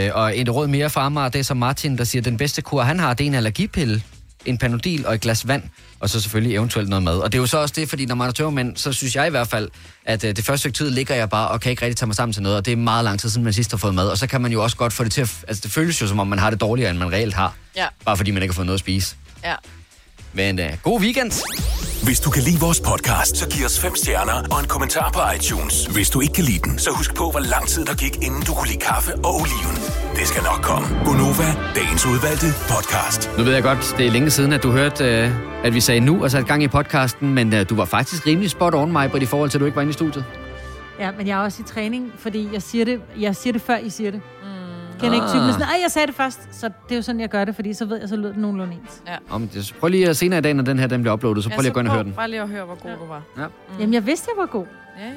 Speaker 3: idé.
Speaker 1: Øh, og et råd mere fra Amager, det er så Martin, der siger, at den bedste kur, han har, det er en allergipille, en panodil og et glas vand, og så selvfølgelig eventuelt noget mad. Og det er jo så også det, fordi når man er tømmermænd, så synes jeg i hvert fald, at øh, det første stykke tid ligger jeg bare og kan ikke rigtig tage mig sammen til noget, og det er meget lang tid siden, man sidst har fået mad. Og så kan man jo også godt få det til at... Altså det føles jo, som om man har det dårligere, end man reelt har,
Speaker 3: Ja,
Speaker 1: bare fordi man ikke har fået noget at spise.
Speaker 3: ja.
Speaker 1: Men øh, god weekend!
Speaker 5: Hvis du kan lide vores podcast, så giv os fem stjerner og en kommentar på iTunes. Hvis du ikke kan lide den, så husk på, hvor lang tid der gik, inden du kunne lide kaffe og oliven. Det skal nok komme. Gonova, dagens udvalgte podcast.
Speaker 1: Nu ved jeg godt, det er længe siden, at du hørte, øh, at vi sagde nu og satte gang i podcasten, men øh, du var faktisk rimelig spot on mig, Britt, i forhold til, at du ikke var inde i studiet.
Speaker 2: Ja, men jeg er også i træning, fordi jeg siger det, jeg siger det før, I siger det. Mm. Kender ikke
Speaker 1: Ah.
Speaker 2: typen med sådan, "Ej, jeg sagde det først, så det er jo sådan, jeg gør det, fordi så ved jeg, så lød det nogenlunde ens.
Speaker 3: Ja.
Speaker 1: Om, det- så prøv lige at senere i dag, når den her den bliver uploadet, så
Speaker 2: Ja,
Speaker 1: prøv lige
Speaker 2: så
Speaker 1: at gå ind og
Speaker 2: prøv.
Speaker 1: høre den.
Speaker 3: Altså, Bare lige at høre, hvor god du var.
Speaker 1: Ja.
Speaker 2: Mm. Jamen, jeg vidste, jeg var god.
Speaker 3: Ja, ja.
Speaker 2: Jeg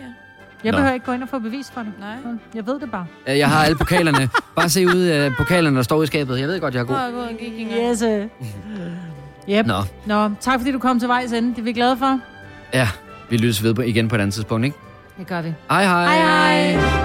Speaker 1: Nå.
Speaker 2: Nå. behøver ikke gå ind og få bevis for det. Nej. Jeg ved det bare.
Speaker 1: Øh, Jeg har alle pokalerne. Bare se ud af pokalerne, der står ude i skabet. Jeg ved godt, jeg er god.
Speaker 2: god. Yes. øh. Yep.
Speaker 1: Nå.
Speaker 2: Nå, tak fordi du kom til vejs ende. Det er vi glade for.
Speaker 1: Ja, vi lyttes ved på, igen på et andet tidspunkt, ikke?
Speaker 2: Det gør vi.
Speaker 1: Hej hej.
Speaker 2: hej.